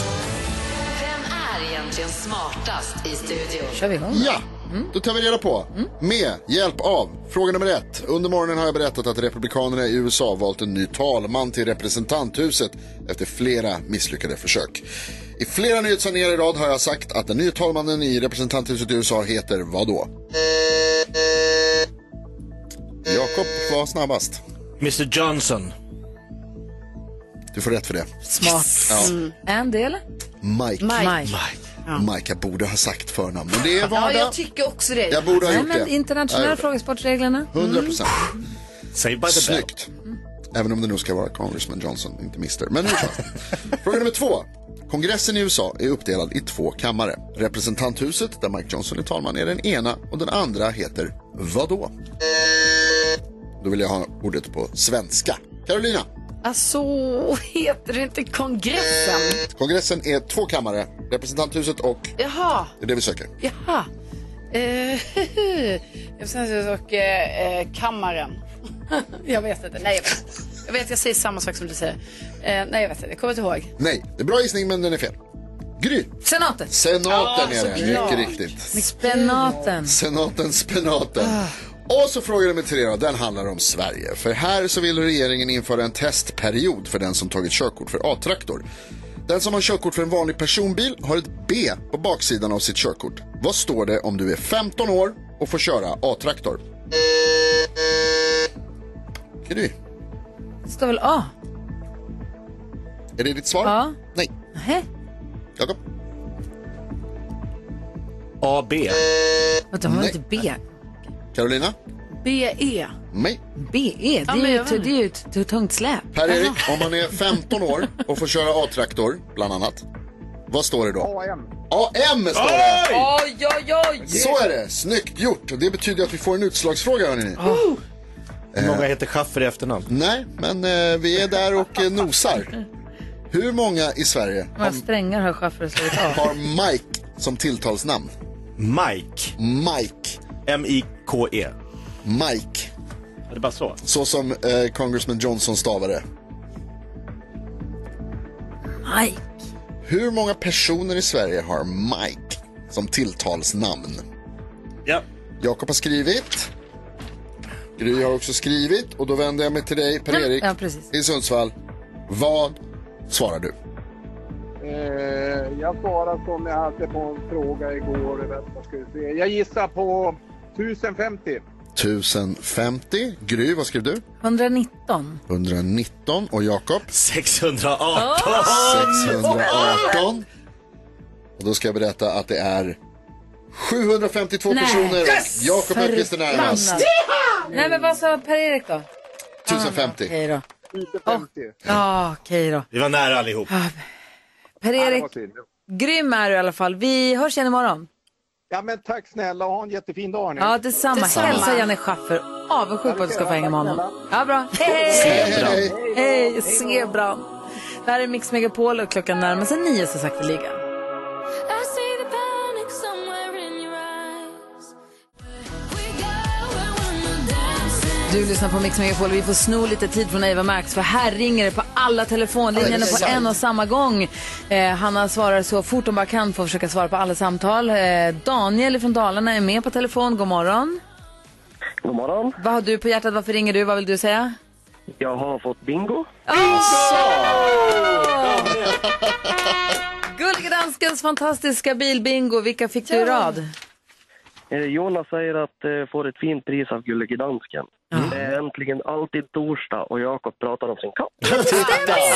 Vem är egentligen smartast i studion?
Ja, då tar vi reda på med hjälp av fråga nummer ett. Under morgonen har jag berättat att republikanerna i USA valt en ny talman till representanthuset efter flera misslyckade försök. I flera nyhetssändningar i rad har jag sagt att den nya talmannen i representanthuset i USA heter vad då? Jakob var snabbast.
Mr Johnson.
Du får rätt för det.
Smart.
Ja.
Mm. Andy eller?
Mike.
Mike.
Mike. Mike. Jag borde ha sagt förnamn. Men det är
Ja,
vardag.
jag tycker också det.
Jag borde ha
Nej,
gjort
men
det.
Internationella Mm.
Nej.
frågesportreglerna.
100 procent.
by the bell. Mm.
Snyggt. Även om det nog ska vara Congressman Johnson, inte Mister. Men nu så.
[LAUGHS]
Fråga nummer två. Kongressen i USA är uppdelad i två kammare. Representanthuset, där Mike Johnson är talman, är den ena och den andra heter vadå? Då vill jag ha ordet på svenska. Carolina,
Alltså, [LAUGHS] heter det inte kongressen?
kongressen är två kammare. Representanthuset och...
Jaha,
Det är det vi söker.
jaha. Eh, [LAUGHS] Representanthuset och eh, eh, kammaren. [LAUGHS] jag vet inte. Nej, jag vet. jag vet. Jag säger samma sak som du säger. Eh, nej, jag vet inte. Jag kommer inte ihåg.
Nej, det är bra gissning men den är fel. Gry.
Senaten.
Senaten
Ja,
är det,
såklart.
mycket riktigt.
Spenaten.
Senaten, spenaten. Och så fråga nummer tre då, den handlar om Sverige. För här så vill regeringen införa en testperiod för den som tagit körkort för A-traktor. Den som har körkort för en vanlig personbil har ett B på baksidan av sitt körkort. Vad står det om du är 15 år och får köra A-traktor? Gry,
Det står väl A?
är det ditt svar?
Ja.
Nej.
Nähä.
Jakob?
AB.
Vänta, har man
Nej.
inte B?
Carolina?
BE.
Nej.
BE? E, Det
Ja,
är
men
ju
jag
ett,
vet
det är ju ett, ett tungt släp.
Per-Erik, om man är 15 år och får köra A-traktor, bland annat, vad står det då? AM. AM står det!
Oj, oj, oj!
Så är det, snyggt gjort. Det betyder att vi får en utslagsfråga hörni. Eh.
Hur många heter Schaffer i efternamn?
Nej, men eh, vi är där och eh, nosar. Hur många i Sverige
Några strängar har chauffören slagit av.
har Mike som tilltalsnamn?
Mike.
Mike.
M-I-K-E.
Mike.
E. Är det bara så?
Så som eh, Congressman Johnson stavade.
Mike.
Hur många personer i Sverige har Mike som tilltalsnamn?
Ja.
Jakob har skrivit. Gry har också skrivit och då vänder jag mig till dig Per-Erik
Ja, precis.
i Sundsvall. Vad svarar du?
Eh, jag svarar som jag hade på en fråga igår. Vänta, ska vi se. Jag gissar på 1050.
1050. Gry, vad skrev du?
119.
119 och Jakob?
618.
618. Och då ska jag berätta att det är 752
Nej.
personer.
Yes!
Jakob Öqvist är närmast.
Förbannat. Nej, men vad sa Per-Erik då?
1050.
Okej då. Ja, okej då.
Vi var nära allihop.
Per-Erik, grym är du i alla fall. Vi hörs igen imorgon.
Ja, men tack snälla och ha en jättefin dag. hörni.
Ja, detsamma.
Detsamma.
Hälsa Janne Schaffer. Avundsjuk på att du ska få hänga med honom. Ja, bra. Hej!
Zebran.
Hej, Hej, zebran. Det här är Mix Megapol och klockan närmar sig nio så sakteliga.
I see the panic somewhere in your eyes.
Du lyssnar på Mix Megapol och vi får sno lite tid från Eva Max för här ringer det på alla
Ja,
telefonlinjerna
det är
på
sant.
en och samma gång. Eh, Hanna svarar så fort hon bara kan för att försöka svara på alla samtal. Eh, Daniel från Dalarna är med på telefon. God morgon.
God morgon.
Vad har du på hjärtat? Varför ringer du? Vad vill du säga?
Jag har fått bingo.
Gullige danskens fantastiska bilbingo. Vilka fick du i rad?
Eh, Jonas säger att eh, får ett fint pris av Gullige Dansken. Det är äntligen alltid torsdag och Jakob pratar om sin katt.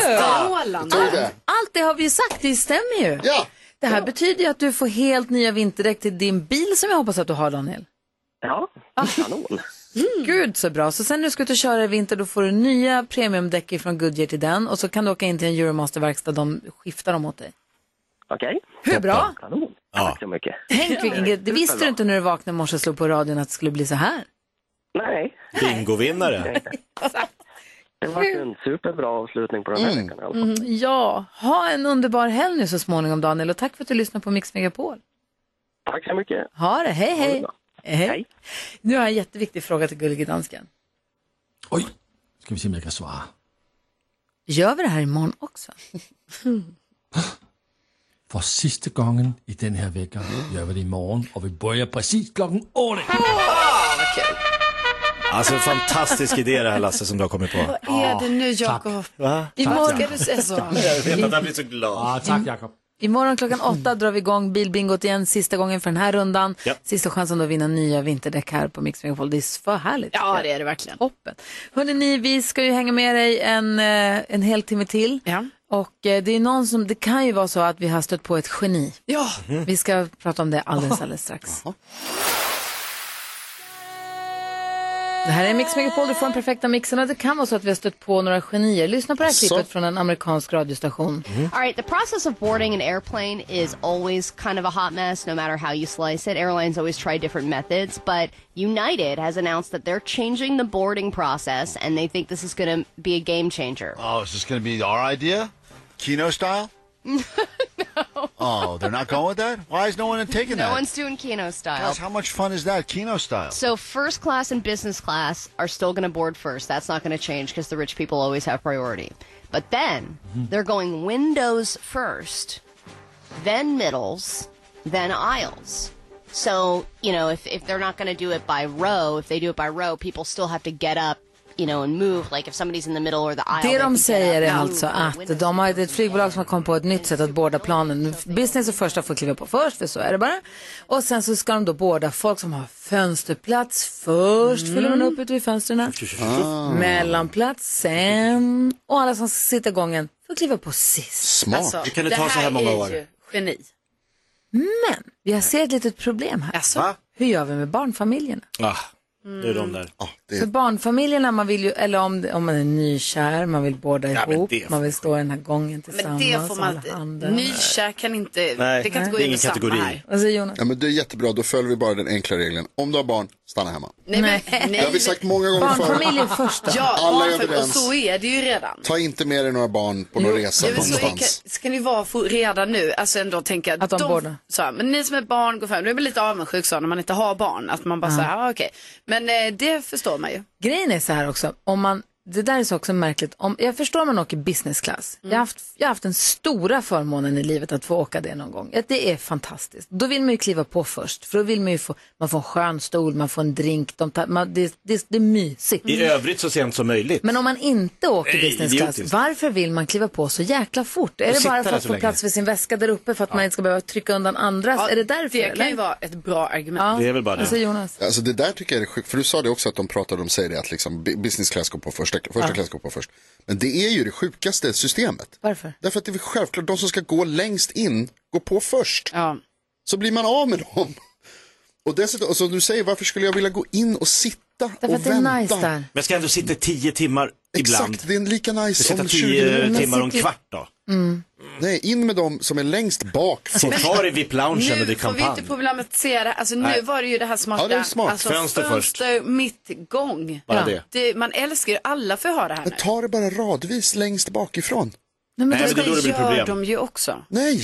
Strålande. Allt det har vi ju sagt, det stämmer ju.
Ja.
Det här betyder ju att du får helt nya vinterdäck till din bil som jag hoppas att du har, Daniel.
Ja, kanon.
Ah. Mm. Gud så bra. Så sen när du ska ut och köra i vinter då får du nya premiumdäck från Goodyear till den och så kan du åka in till en Euromasterverkstad. De skiftar dem åt dig.
Okej.
Hur bra?
Kanon. Tack så mycket.
Tänk vilken grej. Det visste du inte när du vaknade i morse och slog på radion att det skulle bli så här.
Nej.
Bingovinnare.
[LAUGHS] Det var en superbra avslutning på den här veckan i alla fall.
Mm, ja, ha en underbar helg nu så småningom Daniel och tack för att du lyssnade på Mix Megapol.
Tack så mycket.
Ha det, hej hej. Eh, hej. Nu har jag en jätteviktig fråga till Gullige Dansken.
Ska vi se om jag kan svara.
Gör vi det här imorgon också?
For sidste gången i den her vecka gör vi det imorgon och vi börjar precis klockan åtta.
Ah,
Alltså en fantastisk idé det här Lasse som du har kommit på.
Vad är det [LAUGHS] nu Jakob?
Va?
Imorgon-
Ska du säga så?
Jag vet att han blir så glad.
Ah, tack Jakob.
Imorgon klockan åtta drar vi igång bilbingot igen, sista gången för den här rundan.
Ja.
Sista chansen då att vinna nya vinterdäck här på Mix Megapol. Det är för härligt.
Ja, det är det verkligen.
Toppen. Hörrni, ni, vi ska ju hänga med dig en, eh, en hel timme till. Och eh, det, är någon som, det kan ju vara så att vi har stött på ett geni.
Ja.
Vi ska prata om det alldeles, alldeles strax. Det här är Mix Megapol, du får den perfekta mixen och det kan vara så att vi har stött på några genier. Lyssna på det här
Asså?
klippet från en amerikansk radiostation.
All right, the process of boarding an airplane is always kind of a hot mess, no matter how you slice it. Airlines always try different methods, but United has announced that they're changing the boarding process, and they think this is going to be a game changer.
Oh, is this going to be our idea?
[LAUGHS]
Kino style? no. Oh, they're not going with that? Why is no one taking
No
that?
one's doing Kino style.
Guys, how much fun is that? Kino style.
So, first class and business class are still going to board first. That's not going to change because the rich people always have priority. But then they're going windows first, then middles, then aisles. So, you know, if, if they're not going to do it by row, if they do it by row, people still have to get up, you know, and move. Like if somebody's in the middle or the aisle.
Det
they
de
can get
säger
up
är
and move
alltså
to the
att
windows.
de har ett flygbolag som har kommit på ett nytt sätt att boarda planen. Business och första får kliva på först, för så är det bara. Och sen så ska de då boarda folk som har fönsterplats först, fyller man upp ute vid fönstren.
Ah.
Mellanplats sen. Och alla som ska sitta gången får kliva på sist.
Smart. Alltså, Vi kan det det ta så här här många är år. ju Geni.
Men jag ser ett litet problem här. Hur gör vi med barnfamiljerna?
Ah, det är de där.
För barnfamiljerna, man vill ju, eller om, om man är nykär, man vill båda
Ja, men
ihop,
det-
man vill stå i den här gången
Men
tillsammans.
det får man
hålla
inte.
handen.
Nykär kan inte, det kan inte gå in i samma här.
Vad säger Jonas?
Ja, men det är jättebra, då följer vi bara den enkla regeln. Om du har barn, stanna hemma.
Nej, men, nej.
Det har vi sagt många gånger förut.
Barnfamiljer först då.
Ja,
Alla är
barnfamilj, och
överens.
så är det ju redan.
Ta inte med dig några barn på någon resa
Ja, men så kan,
någonstans.
ska ni vara för, redan nu, alltså ändå tänka att
de båda.
Så här, men ni som är barn går fram, då är man lite avundsjuk så när man inte har barn, att man bara
Ja.
så här, ah, okej. Men eh, det förstår man ju.
Grejen är så här också, om man, det där är så också märkligt. Om, jag förstår om man åker business class.
Mm.
Jag, har haft, jag har haft den stora förmånen i livet att få åka det någon gång. Att Det är fantastiskt. Då vill man ju kliva på först. För då vill man ju få, man får en skön stol, man får en drink. De tar, man, det, det, det är mysigt.
Mm.
I övrigt så sent som möjligt.
Men om man inte åker
Nej,
business class,
idiotiskt.
varför vill man kliva på så jäkla
Och
fort? Är det
sitta
bara
där
för att
så
få
länge.
plats för sin väska där uppe för att man inte ska behöva trycka undan andras? är det därför?
Det kan ju vara ett bra argument.
Vad säger Jonas?
Alltså det där tycker jag är sjukt, för du sa det också att de pratade om, säger det att liksom bu- business class går på första, första
Ja.
klass går på först. Men det är ju det sjukaste systemet.
Varför?
Därför att det är väl självklart, de som ska gå längst in går på först. Så blir man av med dem. Och dessutom, och som du säger, varför skulle jag vilja gå in och sitta
Därför
och
att det är
vänta?
nice där.
Men jag ska ändå sitta i tio timmar ibland.
Exakt, det är lika
Jag
nice
ska
om
sitta
20
tio
minuter.
timmar och en kvart då.
Mm.
Nej, in med dem som är längst bak.
Sitt kvar i VIP-loungen och
Nu
drick
får vi inte
champagne.
problematisera, alltså nu
Nej.
var det ju det här smarta.
Ja, det är smart.
Alltså,
Fönster
fönster,
först.
mitt gång.
Bara det.
Man älskar ju, alla får ha det här nu.
Men ta det bara radvis längst bakifrån.
Nej,
Nej, men det är då det blir
gör
problem.
de ju också.
Nej,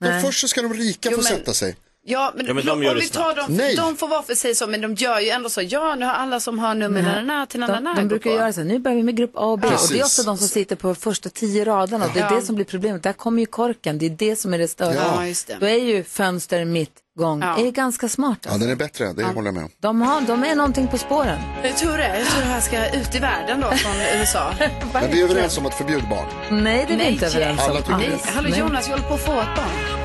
Men
Nej.
först så ska de rika
Jo,
få
men-
sätta sig.
Ja, men,
Ja, men de
om
gör det
vi tar
snabbt.
dem,
Nej.
de får vara för sig så, men de gör ju ändå så, ja nu har alla som har nummer
Nej.
na, na, na, till na, na, na,
Mm. De, de
gå
brukar
på.
göra så här, nu börjar vi med grupp A och B.
Ja.
Och det är
Precis.
ofta de som sitter på första tio raderna. Det är
Ja.
det som blir problemet. Där kommer ju korken. Det är det som är det större.
Ja, just det.
Då är ju fönster mitt gång.
Ja.
är ganska smart.
Ja, den är bättre, det håller jag med om.
De, har, de är någonting på spåren.
Jag tror det, Eh, jag tror det här ska ut i världen då
[LAUGHS]
från USA.
Men vi är överens om att förbjuda barn.
Nej, det är vi
Nej.
inte överens om.
Alla tycker
Nej,
det.
hallå
Nej.
Jonas, jag håller på att få ett barn.